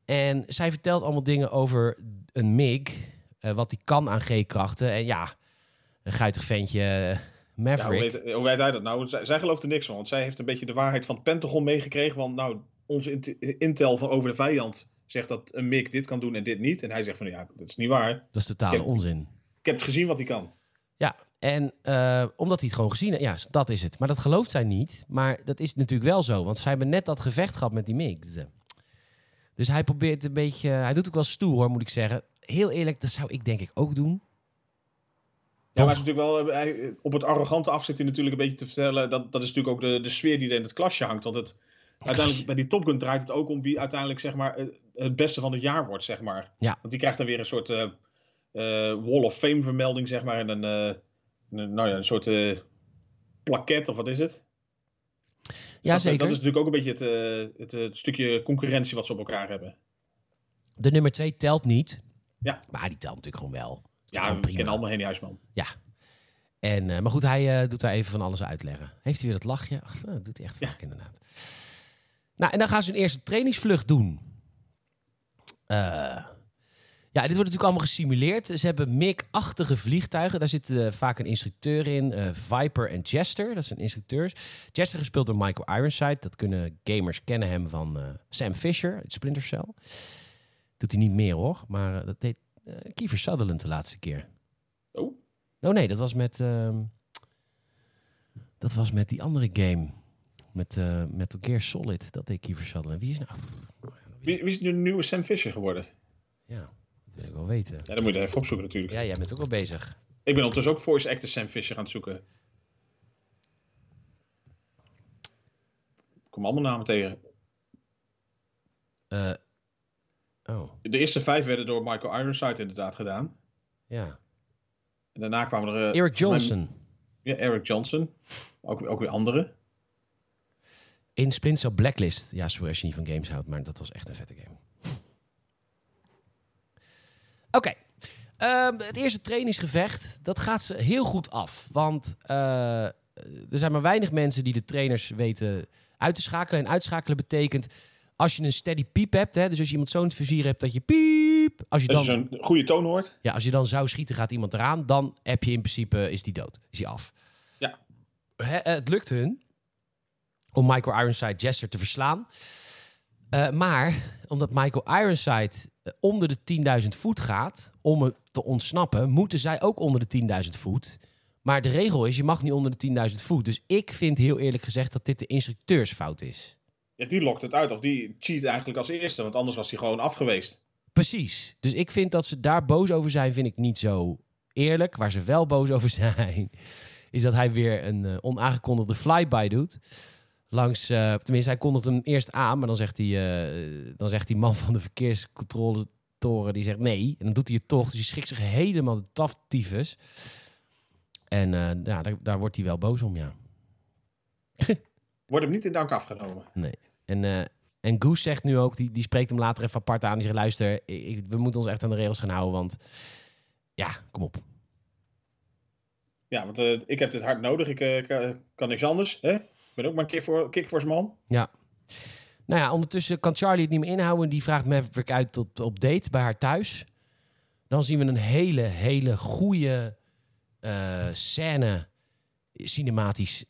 En zij vertelt allemaal dingen over een MIG, eh, wat die kan aan G-krachten. En ja, een guitig ventje, eh, Ja, hoe, Maverick. weet, hoe weet hij dat nou? Zij, zij gelooft er niks van, want zij heeft een beetje de waarheid van het Pentagon meegekregen. Want nou, onze int- intel van over de vijand zegt dat een MIG dit kan doen en dit niet. En hij zegt van, ja, dat is niet waar. dat is totale Ja. onzin. Ik heb het gezien wat hij kan. En eh, omdat hij het gewoon gezien heeft, ja, dat is het. Maar dat gelooft zij niet. Maar dat is natuurlijk wel zo, want zij hebben net dat gevecht gehad met die mix. Dus hij probeert een beetje, hij doet ook wel stoer hoor, moet ik zeggen. Heel eerlijk, dat zou ik denk ik ook doen. Ja, maar het is natuurlijk wel, eh, hij- op het arrogante af zit hij natuurlijk een beetje te vertellen. Dat, dat is natuurlijk ook de, de sfeer die er in het klasje hangt. Want het, uiteindelijk bij die Top Gun draait het ook om wie uiteindelijk zeg maar, eh, het beste van het jaar wordt. Zeg maar. Ja. Want die krijgt dan weer een soort eh, eh, Wall of Fame vermelding. Zeg maar, en een, eh, een- nou ja, een soort eh plaket of wat is het? Ja, dat, dat zeker. is natuurlijk ook een beetje het, eh, het, eh, het stukje concurrentie wat ze op elkaar hebben. De nummer twee telt niet. Ja. Maar die telt natuurlijk gewoon wel. Ja, we kennen allemaal Henny Huisman. En, eh, maar goed, hij eh, doet daar even van alles uitleggen. Heeft hij weer dat lachje? Ach, nou, dat doet hij echt Ja. vaak inderdaad. Nou, en dan gaan ze hun eerste trainingsvlucht doen. Eh, ja, dit wordt natuurlijk allemaal gesimuleerd. Ze hebben MIG-achtige vliegtuigen. Daar zit eh, vaak een instructeur in. eh, Viper en Chester, dat zijn instructeurs. Chester gespeeld door Michael Ironside. Dat kunnen gamers kennen hem van eh, Sam Fisher, uit Splinter Cell. Doet hij niet meer hoor, maar eh, dat deed eh, Kiefer Sutherland de laatste keer. Oh, Oh nee, dat was met. ehm, dat was met die andere game. Met eh Metal Gear Solid. Dat deed Kiefer Sutherland. Wie is nou. wie, wie is nu de nieuwe Sam Fisher geworden? Ja, dat wil ik wel weten. Ja, dat moet je even opzoeken natuurlijk. Ja, jij bent ook wel bezig. Ik ben ondertussen ook voice actor Sam Fisher aan het zoeken. Ik kom allemaal namen tegen. Eh, oh, De eerste vijf werden door Michael Ironside inderdaad gedaan. ja. En daarna kwamen er... eh, Eric voor mij- Johnson. ja, Eric Johnson. Ook, ook weer andere. In Splinter Cell Blacklist. Ja, sorry als je niet van games houdt, maar dat was echt een vette game. Oké. Ehm, het eerste trainingsgevecht, dat gaat ze heel goed af. Want eh, er zijn maar weinig mensen die de trainers weten uit te schakelen. En uitschakelen betekent als je een steady piep hebt. Hè, dus als je iemand zo'n vizier hebt dat je piep. Als je Dat je dan zo'n goede toon hoort. ja, als je dan zou schieten, gaat iemand eraan. Dan heb je in principe, is die dood. Is die af. Ja. Hè, eh, het lukt hun om Michael Ironside Jester te verslaan. Eh, maar omdat Michael Ironside eh, onder de 10.000 voet gaat om het te ontsnappen, moeten zij ook onder de 10.000 voet. Maar de regel is, je mag niet onder de 10.000 voet. Dus ik vind heel eerlijk gezegd dat dit de instructeursfout is. Ja, die lokt het uit. Of die cheat eigenlijk als eerste. Want anders was hij gewoon af geweest. Precies. Dus ik vind dat ze daar boos over zijn, vind ik niet zo eerlijk. Waar ze wel boos over zijn, is dat hij weer een eh, onaangekondigde flyby doet. Langs, eh, tenminste, hij kondigt hem eerst aan, maar dan zegt, hij, eh, dan zegt die man van de verkeerscontroletoren, die zegt nee. En dan doet hij het toch, dus hij schrikt zich helemaal de taftyfus. En eh, ja, daar, daar wordt hij wel boos om, ja. Wordt hem niet in dank afgenomen. En, eh, en Goose zegt nu ook, die, die spreekt hem later even apart aan. Die zegt, luister, ik- ik- we moeten ons echt aan de regels gaan houden, want ja, kom op. Ja, want eh, ik heb dit hard nodig. Ik eh, kan, kan niks anders. Hè? Ik ben ook maar een kickfor- kickforce man. Nou ja, ondertussen kan Charlie het niet meer inhouden. Die vraagt Maverick uit tot op date bij haar thuis. Dan zien we een hele, hele goede eh, scène. Cinematisch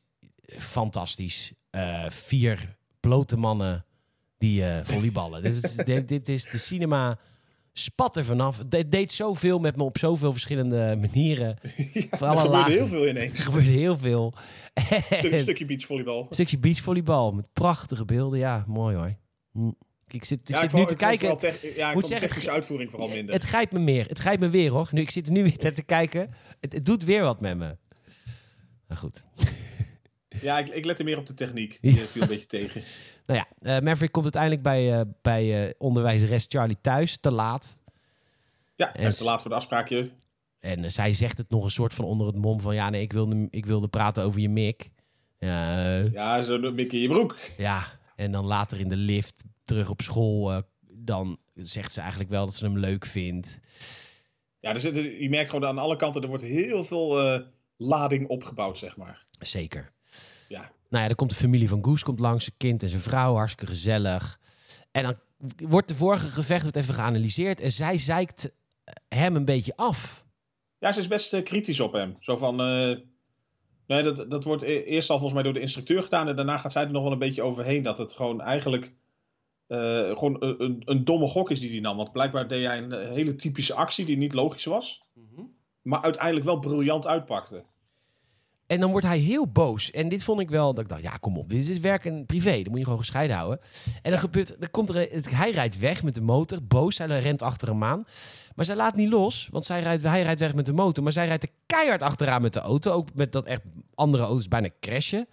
fantastisch. Eh, vier blote mannen die eh, volleyballen. dit, is, dit, dit is de cinema spat er vanaf. Het deed zoveel met me op zoveel verschillende manieren. ja, Voor er alle gebeurde lagen. heel veel ineens. Er gebeurde heel veel. Een En- stukje beachvolleybal. een stukje beachvolleybal met prachtige beelden. Ja, mooi hoor. Hm. Ik zit, ik Ja, zit ik wou- nu te ik wou kijken. vooral tech- ja, ik moet vond zeggen, het technische uitvoering vooral minder. Eh, Het grijpt me meer. Het grijpt me weer hoor. Nu, ik zit er nu weer naar te kijken. Het, het doet weer wat met me. Maar goed. Ja, ik, ik lette meer op de techniek. Ja. Die eh, viel een beetje tegen. Nou ja, eh, Maverick komt uiteindelijk bij, eh bij eh onderwijzeres Charlie thuis. Te laat. Ja, En en s- te laat voor de afspraakje. En eh, zij zegt het nog een soort van onder het mom van... Ja, nee, ik wilde, ik wilde praten over je mik. Ja, eh, Ja, zo een beetje in je broek. ja. En dan later in de lift, terug op school... eh, dan zegt ze eigenlijk wel dat ze hem leuk vindt. Ja, dus, je merkt gewoon aan alle kanten, er wordt heel veel eh, lading opgebouwd, zeg maar. Zeker. Ja. Nou ja, dan komt de familie van Goes komt langs, zijn kind en zijn vrouw, hartstikke gezellig. En dan wordt de vorige gevecht wordt even geanalyseerd en zij zeikt hem een beetje af. Ja, ze is best eh, kritisch op hem. Zo van, eh, nee, dat, dat wordt e- eerst al volgens mij door de instructeur gedaan en daarna gaat zij er nog wel een beetje overheen. Dat het gewoon eigenlijk eh, gewoon een, een, een domme gok is die hij nam. Want blijkbaar deed hij een eh, hele typische actie die niet logisch was, maar uiteindelijk wel briljant uitpakte. En dan wordt hij heel boos. En dit vond ik wel, dat ik dacht, ja kom op, dit is werk en privé, dat moet je gewoon gescheiden houden. En dan gebeurt, dan komt er, een- het, hij rijdt weg met de motor, boos, hij rent achter hem aan. Maar zij laat niet los, want zij rijdt, hij rijdt weg met de motor, maar zij rijdt er keihard achteraan met de auto. Ook met dat echt andere auto's bijna crashen.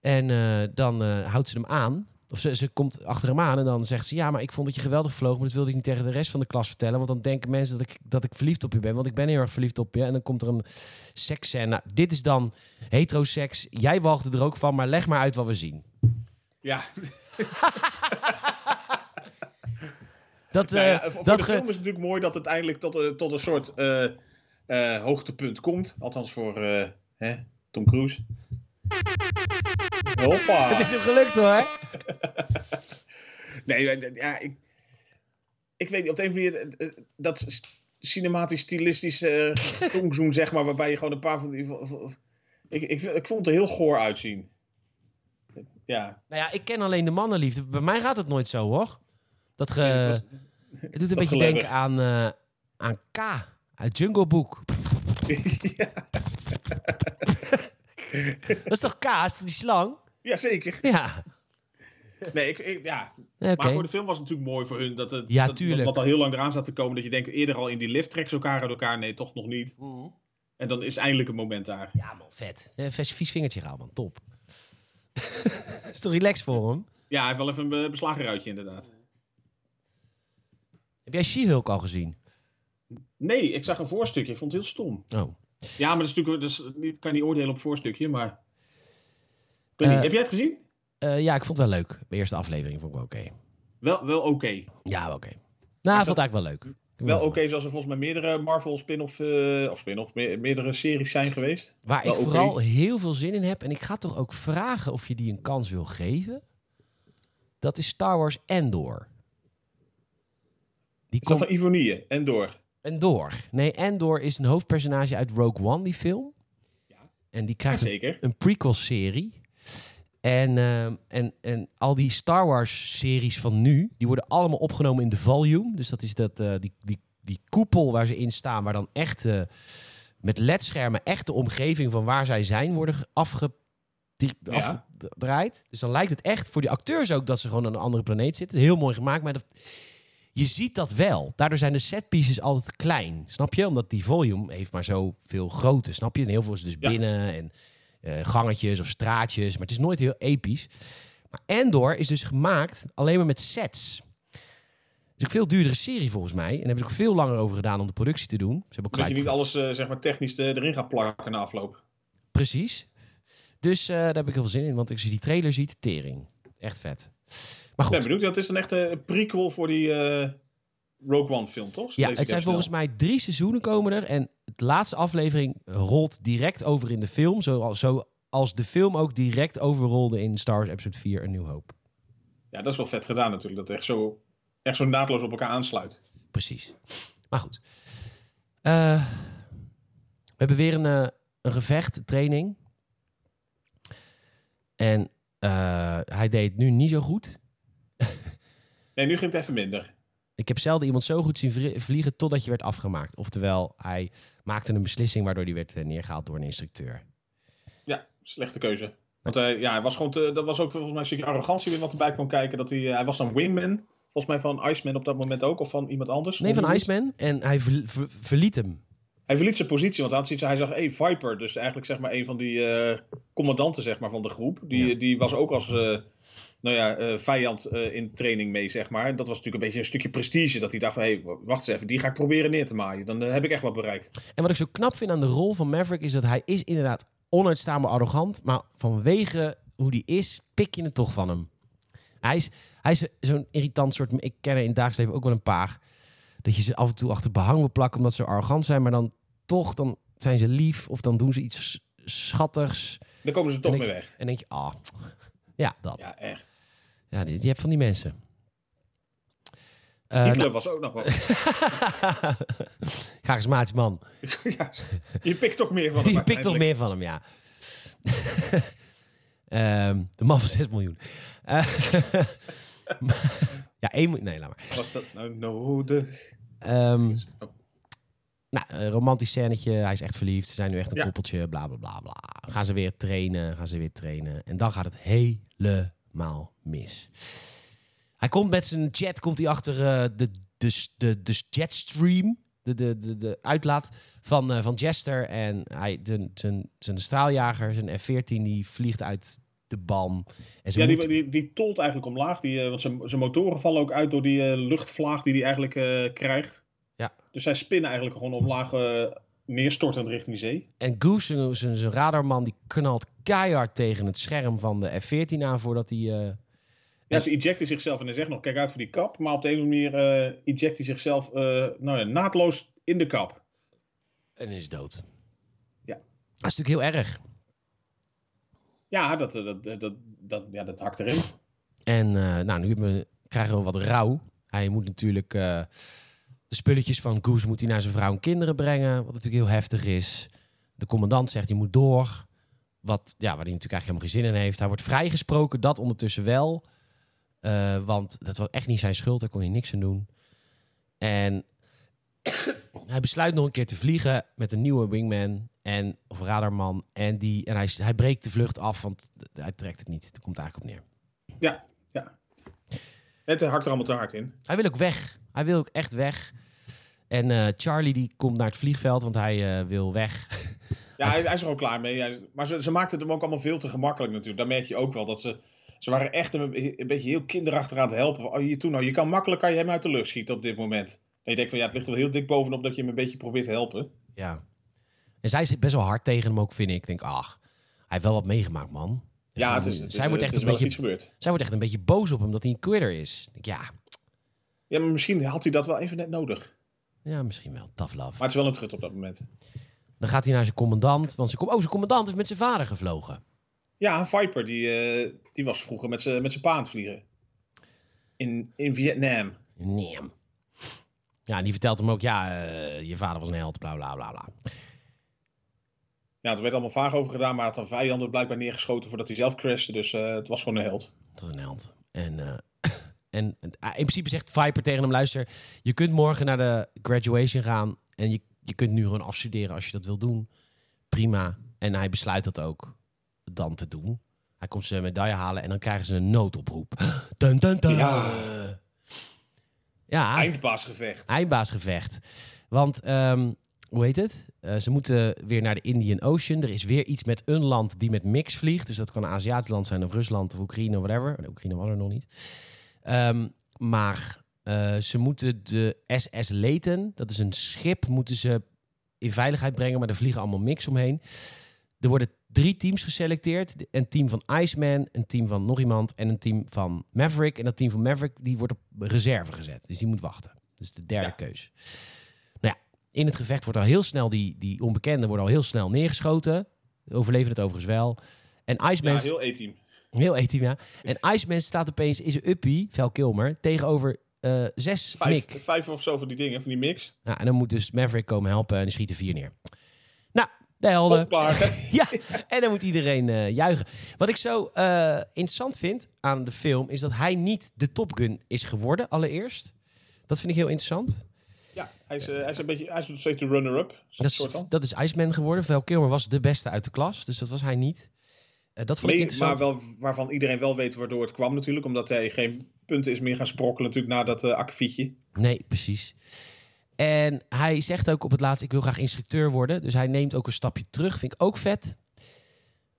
En eh, dan eh, houdt ze hem aan. Of ze, ze komt achter hem aan en dan zegt ze... ja, maar ik vond dat je geweldig vloog... maar dat wilde ik niet tegen de rest van de klas vertellen... want dan denken mensen dat ik, dat ik verliefd op je ben... want ik ben heel erg verliefd op je. En dan komt er een seksscène. Dit is dan heteroseks. Jij walgde er ook van, maar leg maar uit wat we zien. Ja, Dat, Nou ja, eh, voor dat de ge- film is het natuurlijk mooi dat het eindelijk tot, een- tot een soort eh, eh, hoogtepunt komt. Althans voor eh, hè, Tom Cruise. Hoppa! Het is hem gelukt hoor. Nee, eh, ja, ik, ik weet niet, op de een of andere manier, eh, eh, dat s- cinematisch, stilistisch eh zoen, zeg maar, waarbij je gewoon een paar van die... van- van- Ik, ik, ik vond het er heel goor uitzien. Ja. Nou ja, ik ken alleen de mannenliefde. Bij mij gaat het nooit zo hoor. Dat ge... Het was- Het doet een Dat beetje gelebber. denken aan, eh, aan K uit Jungle Book. Dat is toch K, is dat die slang? ja, zeker. Ja, Nee, ik, ik, ja, nee, oké. Maar voor de film was het natuurlijk mooi voor hun. Dat het, Ja, dat, tuurlijk. Wat al heel lang eraan zat te komen. Dat je denkt, eerder al in die lift trekken ze elkaar uit elkaar. Nee, toch nog niet. En dan is eindelijk een moment daar. Ja man, vet. Eh, Vies, vies vingertje raal man, top. is toch relaxed voor hem? Ja, hij heeft wel even een be- beslagen ruitje inderdaad. Heb jij She-Hulk al gezien? Nee, ik zag een voorstukje. Ik vond het heel stom. Oh. Ja, maar dat is natuurlijk... Dat is, ik kan niet oordelen op voorstukje, maar... Ik weet Eh, niet. Heb jij het gezien? Eh, ja, ik vond het wel leuk. De eerste aflevering vond ik wel oké. Wel, wel oké. Ja, wel oké. Nou, ik Is vond het dat- eigenlijk wel leuk. Ik vond Wel het oké, zoals er volgens mij meerdere Marvel spin-off... eh, of spin-off, me- meerdere series zijn geweest. Waar Wel ik oké. vooral heel veel zin in heb. En ik ga toch ook vragen of je die een kans wil geven. Dat is Star Wars Endor. Die Is dat komt van Ivonie en door. Endor. Nee, Endor is een hoofdpersonage uit Rogue One, die film. Ja. En die krijgt een, Zeker. een prequel-serie. En, ehm, en, en al die Star Wars-series van nu, die worden allemaal opgenomen in de volume. Dus dat is dat, eh, die, die, die koepel waar ze in staan, waar dan echt eh, met ledschermen echt de omgeving van waar zij zijn worden ge- afge- die- Ja. afgedraaid. Dus dan lijkt het echt voor die acteurs ook dat ze gewoon aan een andere planeet zitten. Heel mooi gemaakt, maar dat, je ziet dat wel. Daardoor zijn de setpieces altijd klein, snap je? Omdat die volume heeft maar zoveel grootte, snap je? En heel veel is dus Ja. binnen en eh, gangetjes of straatjes, maar het is nooit heel episch. Maar Endor is dus gemaakt alleen maar met sets. Het is ook veel duurdere serie volgens mij. En daar hebben ze ook veel langer over gedaan om de productie te doen. Ze hebben ook Dat je gelijk- niet alles eh, zeg maar technisch eh, erin gaat plakken na afloop. Precies. Dus eh, daar heb ik heel veel zin in, want als je die trailer ziet, tering. Echt vet. Maar Ik goed, ben benieuwd. Dat is dan echt eh, een prequel voor die eh, Rogue One film, toch? ja, het zijn volgens mij drie seizoenen komen er. En de laatste aflevering rolt direct over in de film. Zoals, zoals de film ook direct overrolde in Star Wars Episode 4 A New Hope. Ja, dat is wel vet gedaan natuurlijk. Dat het echt zo, echt zo naadloos op elkaar aansluit. Precies. Maar goed. Eh, we hebben weer een, eh, een gevecht, een training. En eh, hij deed het nu niet zo goed. Nee, nu ging het even minder. Ik heb zelden iemand zo goed zien vri- vliegen totdat je werd afgemaakt. Oftewel, hij maakte een beslissing waardoor hij werd eh, neergehaald door een instructeur. Ja, slechte keuze. Want eh, ja, hij was gewoon te- dat was ook volgens mij een stukje arrogantie weer wat erbij kwam kijken. Dat hij, eh, hij was dan wingman, volgens mij van Iceman op dat moment ook, of van iemand anders. Nee, van Iceman. Iceman. En hij ver- ver- verliet hem. Hij verliet zijn positie, want hij, had zoiets, hij zag hey, Viper, dus eigenlijk zeg maar een van die eh, commandanten zeg maar, van de groep. Die, Ja. die was ook als eh, nou ja, eh, vijand eh, in training mee, zeg maar. En dat was natuurlijk een beetje een stukje prestige, dat hij dacht van, hey, w- wacht eens even, die ga ik proberen neer te maaien. Dan eh, heb ik echt wat bereikt. En wat ik zo knap vind aan de rol van Maverick is dat hij is inderdaad onuitstaanbaar arrogant. Maar vanwege hoe die is, pik je het toch van hem. Hij is, hij is zo'n irritant soort... Ik ken er in het dagelijks leven ook wel een paar. Dat je ze af en toe achter behang wil plakken omdat ze arrogant zijn. Maar dan toch, dan zijn ze lief of dan doen ze iets s- schattigs. Dan komen ze toch En mee weg. En dan denk je, ah, ja, dat. Ja, echt. Ja, die, die hebt van die mensen. Eh, Hitler was ook nog wel. nou- Charismatisch man. ja, je pikt toch meer van hem. Je pikt toch uiteindelijk. meer van hem, ja. Ehm, de man van 6 miljoen. Eh, maar- ja, één miljoen. Nee, laat maar. Was dat nou nodig? Ehm, Oh, nou, een romantisch scènetje. Hij is echt verliefd. Ze zijn nu echt een Ja. koppeltje. Bla, bla, bla, bla. Gaan ze weer trainen. Gaan ze weer trainen. En dan gaat het helemaal mis. Hij komt met zijn jet komt hij achter eh, de, de, de, de jetstream. De, de, de, de uitlaat van, eh, van Jester. En hij, zijn, zijn, zijn straaljager, zijn F-14, die vliegt uit de balm. En ze Ja, die, moeten- die, die tolt eigenlijk omlaag. Die, eh, want zijn, zijn motoren vallen ook uit door die eh, luchtvlaag die hij eigenlijk eh, krijgt. Ja. Dus zij spinnen eigenlijk gewoon omlaag eh, neerstortend richting de zee. En Goose, zijn- zijn, zijn radarman, die knalt keihard tegen het scherm van de F-14 aan voordat hij... eh, Ja, En- ze ejecten zichzelf en hij zegt nog, kijk uit voor die kap. Maar op de een of andere manier eh eject hij zichzelf eh, nou ja, naadloos in de kap. En is dood. Ja. Dat is natuurlijk heel erg. Ja, dat, eh, dat, dat, dat, ja, dat hakt erin. En eh, nou, nu hebben we- krijgen we wat rouw. Hij moet natuurlijk eh, de spulletjes van Goose moet hij naar zijn vrouw en kinderen brengen. Wat natuurlijk heel heftig is. De commandant zegt, je moet door. Wat, ja, waar hij natuurlijk eigenlijk helemaal geen zin in heeft. Hij wordt vrijgesproken, dat ondertussen wel. Eh, want dat was echt niet zijn schuld, daar kon hij niks aan doen. En hij besluit nog een keer te vliegen met een nieuwe wingman en, of radarman. En, die, en hij, hij breekt de vlucht af, want hij trekt het niet. Daar komt het eigenlijk op neer. Ja, ja. Het hakt er allemaal te hard in. Hij wil ook weg. Hij wil ook echt weg. En eh, Charlie die komt naar het vliegveld, want hij eh, wil weg. Ja, hij, hij is er ook klaar mee. Hij- maar ze, ze maakten het hem ook allemaal veel te gemakkelijk natuurlijk. Daar merk je ook wel dat ze... Ze waren echt een, een beetje heel kinderachtig aan het helpen. Van, Oh, hier, toe nou, je kan makkelijk kan je hem uit de lucht schieten op dit moment. En je denkt van, ja, het ligt wel heel dik bovenop dat je hem een beetje probeert te helpen. Ja. En zij zit best wel hard tegen hem ook, vind ik. Ik denk, ach, hij heeft wel wat meegemaakt, man. Ja, Zij- het is, het is- zij, wordt echt het is een wel beetje, iets gebeurd. zij wordt echt een beetje boos op hem dat hij een quitter is. Ik denk, ja, Ja, maar misschien had hij dat wel even net nodig. ja, misschien wel. Tough love. Maar het is wel een trut op dat moment. Dan gaat hij naar zijn commandant, want zijn, com- oh, zijn commandant heeft met zijn vader gevlogen. Ja, Viper, die, eh, die was vroeger met zijn met zijn pa aan het vliegen. In, in Vietnam. Nee. Ja, en die vertelt hem ook, ja, eh, je vader was een held, bla bla bla bla. Ja, er werd allemaal vaag over gedaan, maar hij had een vijanden blijkbaar neergeschoten voordat hij zelf crashte. Dus eh, het was gewoon een held. Dat is een held. En, eh, en eh, in principe zegt Viper tegen hem: luister, je kunt morgen naar de graduation gaan. En je, je kunt nu gewoon afstuderen als je dat wil doen. Prima. En hij besluit dat ook dan te doen. Hij komt zijn medaille halen en dan krijgen ze een noodoproep. Dun, dun, dun. Ja. ja Eindbaasgevecht. eindbaasgevecht. Want, ehm, hoe heet het? Eh, ze moeten weer naar de Indian Ocean. Er is weer iets met een land die met mix vliegt. Dus dat kan een Aziatisch land zijn of Rusland of Oekraïne of whatever. Nee, Oekraïne was er nog niet. Ehm, maar eh, ze moeten de SS Leten, dat is een schip, moeten ze in veiligheid brengen. Maar er vliegen allemaal mix omheen. Er worden drie teams geselecteerd. Een team van Iceman, een team van nog iemand en een team van Maverick. En dat team van Maverick die wordt op reserve gezet. Dus die moet wachten. Dus de derde Ja. keus. Nou ja, in het gevecht wordt al heel snel die, die onbekende wordt al heel snel neergeschoten. Overleven het overigens wel. En Iceman Ja, heel E-team. Heel E-team, ja. En Iceman staat opeens in zijn uppie, Vel Kilmer, tegenover eh, zes Vijf, Mick. vijf of zo van die dingen, van die mix. Nou, en dan moet dus Maverick komen helpen en die schieten vier neer. Nou, de helden. Klaar, hè? Ja, en dan moet iedereen eh, juichen. Wat ik zo eh, interessant vind aan de film... is dat hij niet de Top Gun is geworden, allereerst. Dat vind ik heel interessant. Ja, hij is, eh, hij is een beetje, hij is nog steeds de runner-up. Dat soort is, van. dat is Iceman geworden. Val Kilmer was de beste uit de klas, dus dat was hij niet. Eh, Eh, dat vond ik Leeg, maar interessant. wel, waarvan iedereen wel weet waardoor het kwam natuurlijk. Omdat hij geen punten is meer gaan sprokkelen natuurlijk na dat eh akkefietje. Nee, precies. En hij zegt ook op het laatst, ik wil graag instructeur worden. Dus hij neemt ook een stapje terug. Vind ik ook vet.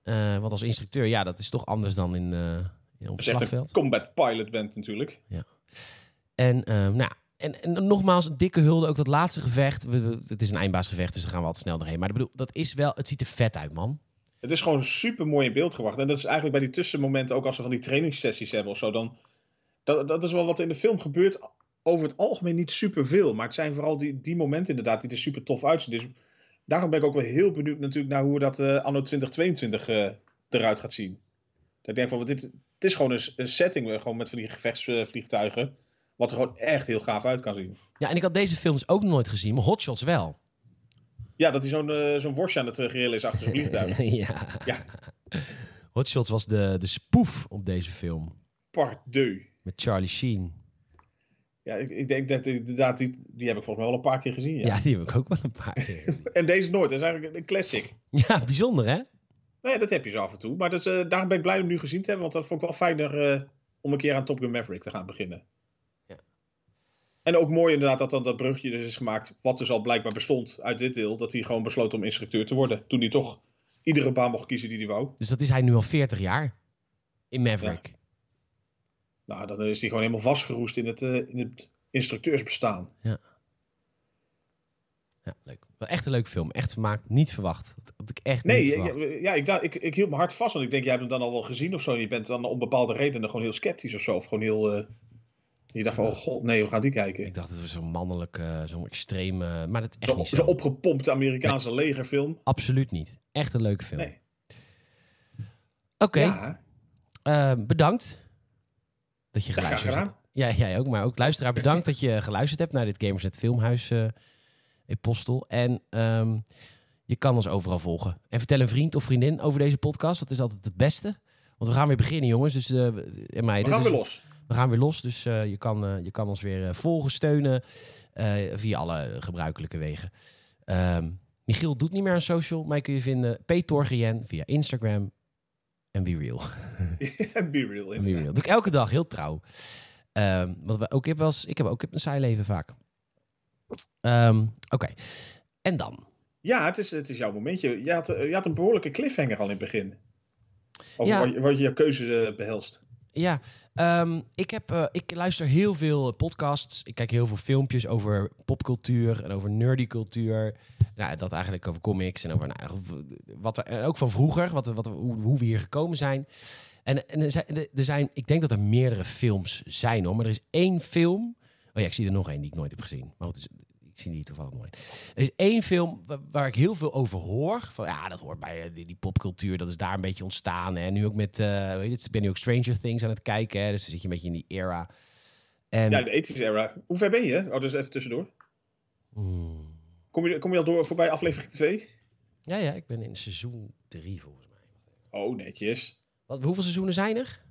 Eh, want als instructeur, ja, dat is toch anders dan in, eh, in op het Als je echt slagveld. een combat pilot bent natuurlijk. En, ehm, nou, ja, en, en nogmaals, een dikke hulde. Ook dat laatste gevecht. We- we- het is een eindbaasgevecht, dus daar gaan we altijd snel doorheen. Maar ik bedoel, dat is wel, het ziet er vet uit, man. Het is gewoon super mooi in beeld gebracht. En dat is eigenlijk bij die tussenmomenten ook als we van die trainingssessies hebben of zo. Dan, dat, dat is wel wat er in de film gebeurt. Over het algemeen niet super veel. Maar het zijn vooral die, die momenten inderdaad die er super tof uitzien. Dus daarom ben ik ook wel heel benieuwd natuurlijk naar hoe dat eh, anno 2022 eh, eruit gaat zien. Dat ik denk van, want dit, het is gewoon een, s- een setting eh, gewoon met van die gevechtsvliegtuigen. Wat er gewoon echt heel gaaf uit kan zien. Ja, en ik had deze films ook nooit gezien, maar Hot Shots wel. Ja, dat hij zo'n eh, zo'n worstje aan het eh, grillen is achter zijn vliegtuig. ja. Ja. Hot Shots was de, de spoef op deze film. Pardieu. Met Charlie Sheen. Ja, ik, ik denk dat inderdaad, die, die heb ik volgens mij wel een paar keer gezien. Ja. Ja. die heb ik ook wel een paar keer. En deze nooit, dat is eigenlijk een classic. ja, bijzonder hè? Nou ja, dat heb je zo af en toe. Maar dat, is, eh, daarom ben ik blij om hem nu gezien te hebben, want dat vond ik wel fijner eh, om een keer aan Top Gun Maverick te gaan beginnen. Ja. En ook mooi inderdaad dat dan dat brugje dus is gemaakt, wat dus al blijkbaar bestond uit dit deel, dat hij gewoon besloot om instructeur te worden. Toen hij toch iedere baan mocht kiezen die hij wou. Dus dat is hij nu al 40 jaar. In Maverick. Nou, dan is hij gewoon helemaal vastgeroest in het, eh, in het instructeursbestaan. Ja, leuk. Wel echt een leuk film. Echt vermaakt. Niet verwacht. Dat had ik echt Nee, niet ik- verwacht. ja, ik, dacht- ik, ik hield me hard vast, want ik denk, jij hebt hem dan al wel gezien of zo. En je bent dan om bepaalde redenen gewoon heel sceptisch of zo. Of gewoon heel... eh, je dacht van, oh god, nee, we gaan die kijken. Ik dacht, het was zo'n mannelijk, eh, zo'n extreme... Maar dat is echt Zo'n niet zo zo. opgepompte Amerikaanse legerfilm. Absoluut niet. Echt een leuke film. Nee. Oké, Ja, eh, bedankt dat je Ja, graag geluisterd hebt. gedaan. Ja, jij ook, maar ook luisteraar, bedankt dat je geluisterd hebt naar dit Gamers Net Filmhuis eh epostel. En ehm, je kan ons overal volgen. En vertel een vriend of vriendin over deze podcast. Dat is altijd het beste. Want we gaan weer beginnen, jongens. Dus, eh, en We meiden. gaan Dus- weer los. we gaan weer los, dus eh, je, kan, eh, je kan ons weer eh, volgen, steunen eh, via alle gebruikelijke wegen. Ehm, Michiel doet niet meer aan social. Mij kun je vinden P. Torgien via Instagram en Be Real. Be real. En Be inderdaad. Real. Doe ik elke dag, heel trouw. Ehm, want we, ook, ik, heb wel eens, ik heb ook ik heb een saai leven vaak. Ehm, Oké, en dan? Ja, het is, het is jouw momentje. Je had, eh, je had een behoorlijke cliffhanger al in het begin. Over Ja. wat, je- wat je keuzes eh, behelst. Ja, ehm, ik, heb, eh, ik luister heel veel eh, podcasts. Ik kijk heel veel filmpjes over popcultuur en over nerdy cultuur. Nou, dat eigenlijk over comics en over nou, v- wat er, en ook van vroeger, wat, er- wat, er- hoe, hoe we hier gekomen zijn. En, en er, zijn, er zijn, ik denk dat er meerdere films zijn hoor, maar er is één film. Oh ja, ik zie er nog één die ik nooit heb gezien. Maar goed, dus, ik zie die toevallig nooit. Er is één film wa- waar ik heel veel over hoor. Van ja, dat hoort bij eh, die, die popcultuur. Dat is daar een beetje ontstaan. En nu ook met, eh, hoe heet het? Ik ben nu ook Stranger Things aan het kijken. Hè, dus dan zit je een beetje in die era. En, Ja, de ethische era. Hoe ver ben je? Oh, dus even tussendoor. Hmm. Kom je, kom je al door voorbij aflevering 2? ja, ja, ik ben in seizoen drie volgens mij. Oh, netjes. Wat, hoeveel seizoenen zijn er?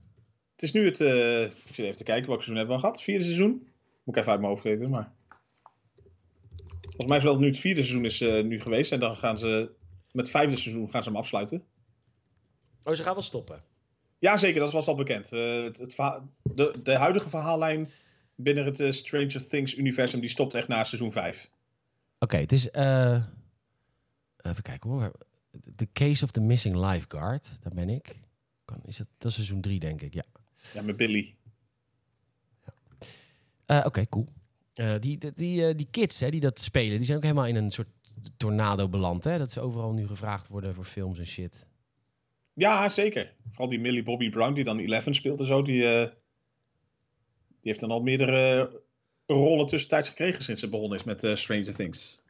Het is nu het. eh, ik zit even te kijken welk seizoen hebben we gehad. Vierde seizoen. Moet ik even uit mijn hoofd weten, maar. Volgens mij is wel nu het vierde seizoen is eh, nu geweest. En dan gaan ze. Met het vijfde seizoen gaan ze hem afsluiten. Oh, ze gaan wel stoppen. Jazeker, dat was al bekend. Eh, het, het verha- de, de huidige verhaallijn binnen het eh, Stranger Things universum. die stopt echt na seizoen 5. Oké, het is. eh, even kijken hoor. The Case of the Missing Lifeguard. Daar ben ik. Kan, is dat, dat is seizoen 3, denk ik. Ja. Ja, met Billy. Eh, Oké, cool. Eh, die, die, die, eh, die kids hè, die dat spelen, die zijn ook helemaal in een soort tornado beland. Hè? Dat ze overal nu gevraagd worden voor films en shit. Ja, zeker. Vooral die Millie Bobby Brown, die dan Eleven speelt en zo. Die, eh, die heeft dan al meerdere eh, rollen tussentijds gekregen sinds ze begonnen is met eh, Stranger Things.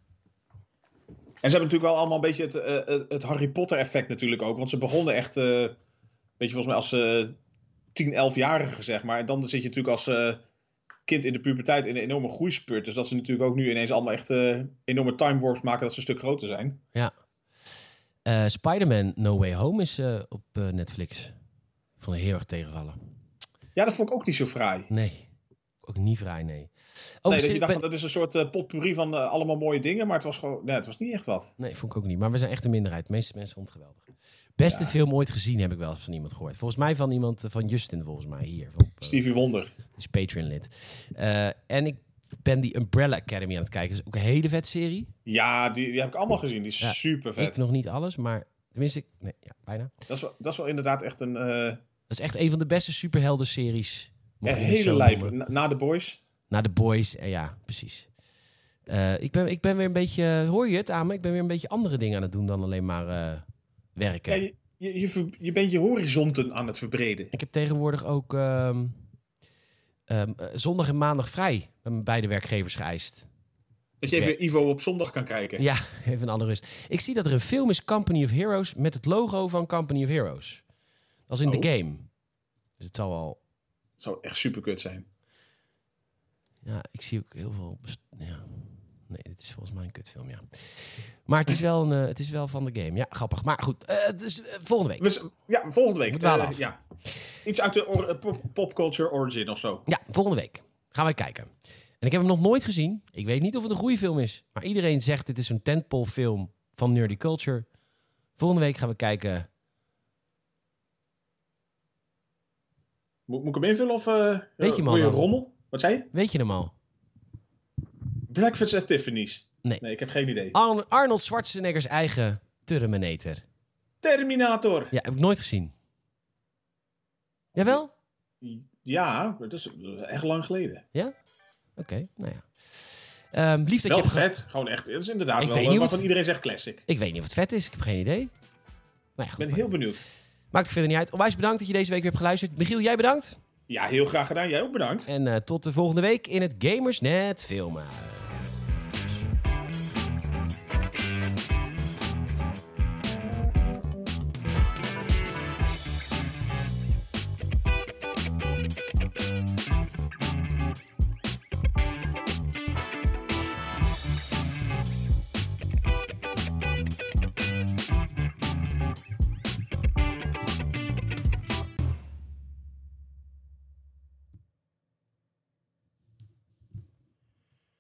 En ze hebben natuurlijk wel allemaal een beetje het, eh, eh, het Harry Potter effect natuurlijk ook. Want ze begonnen echt, eh, weet je, volgens mij als eh 10, 11-jarige zeg maar. En dan zit je natuurlijk als eh, kind in de puberteit in een enorme groeispurt. Dus dat ze natuurlijk ook nu ineens allemaal echt eh, enorme time warps maken dat ze een stuk groter zijn. Eh Spider-Man No Way Home is eh, op eh, Netflix. Vond ik heel erg tegenvallen. Ja, dat vond ik ook niet zo fraai. Nee. ook niet vrij, nee. Oh, Nee, Overigens dat je zit- dacht, ben- dat is een soort eh, potpourri van eh, allemaal mooie dingen, maar het was gewoon, nee, het was niet echt wat. Nee, vond ik ook niet. Maar we zijn echt een minderheid. De meeste mensen vonden het geweldig. Beste Ja. film ooit gezien heb ik wel eens van iemand gehoord. Volgens mij van iemand, eh, van Justin volgens mij hier. Van, eh, Stevie Wonder. is Patreon-lid. Eh, en ik ben die Umbrella Academy aan het kijken. Dat is ook een hele vet serie. Ja, die, die heb ik allemaal gezien. Die is Ja, super vet. Ik nog niet alles, maar tenminste, ik, nee, ja, bijna. Dat, is wel, dat is wel inderdaad echt een, eh, Dat is echt een van de beste superhelden-series. mocht een je het hele zo lijp. noemen. Na, na de boys. Naar de boys, eh, ja, precies. Eh, ik, ben, ik ben weer een beetje, eh, hoor je het aan me? Ik ben weer een beetje andere dingen aan het doen dan alleen maar eh, werken. Ja, je, je, je, ver- je bent je horizonten aan het verbreden. Ik heb tegenwoordig ook ehm, ehm, eh, zondag en maandag vrij bij mijn beide werkgevers geëist. Dat je Ja. even Ivo op zondag kan kijken. Ja, even een alle rust. Ik zie dat er een film is, Company of Heroes, met het logo van Company of Heroes. Als in Oh. de game. Dus het zal wel... Zou echt super kut zijn. Ja, ik zie ook heel veel... best- Ja. Nee, dit is volgens mij een kutfilm, ja. Maar het is wel, een, eh, het is wel van de game. Ja, grappig. Maar goed, eh, het is eh, volgende week. We z- ja, volgende week. We dwalen eh, af. ja. Iets uit de or- eh, pop- popculture origin of zo. Ja, volgende week gaan wij kijken. En ik heb hem nog nooit gezien. Ik weet niet of het een goede film is. Maar iedereen zegt dit is een tentpole film van nerdy culture. Volgende week gaan we kijken... Mo- moet ik hem invullen of... eh, Weet je, man, hoor man. rommel? Wat zei je? Weet je hem al? Breakfast at Tiffany's. Nee. Nee, ik heb geen idee. Ar- Arnold Schwarzenegger's eigen Terminator. Terminator. Ja, heb ik nooit gezien. Jawel? Oké, Ja, dat is eh, echt lang geleden. nou ja. Ehm, lief dat je wel hebt ge- vet. Gewoon echt. Het is inderdaad Ik wel weet wat niet wat wat- iedereen zegt classic. Ik weet niet wat vet is, ik heb geen idee. Nou ja, Ik goed, ben ma- heel benieuwd. maakt ook verder niet uit. Onwijs bedankt dat je deze week weer hebt geluisterd. Michiel, jij bedankt. Ja, heel graag gedaan. Jij ook bedankt. En eh, tot de volgende week in het Gamersnet Filmhuis.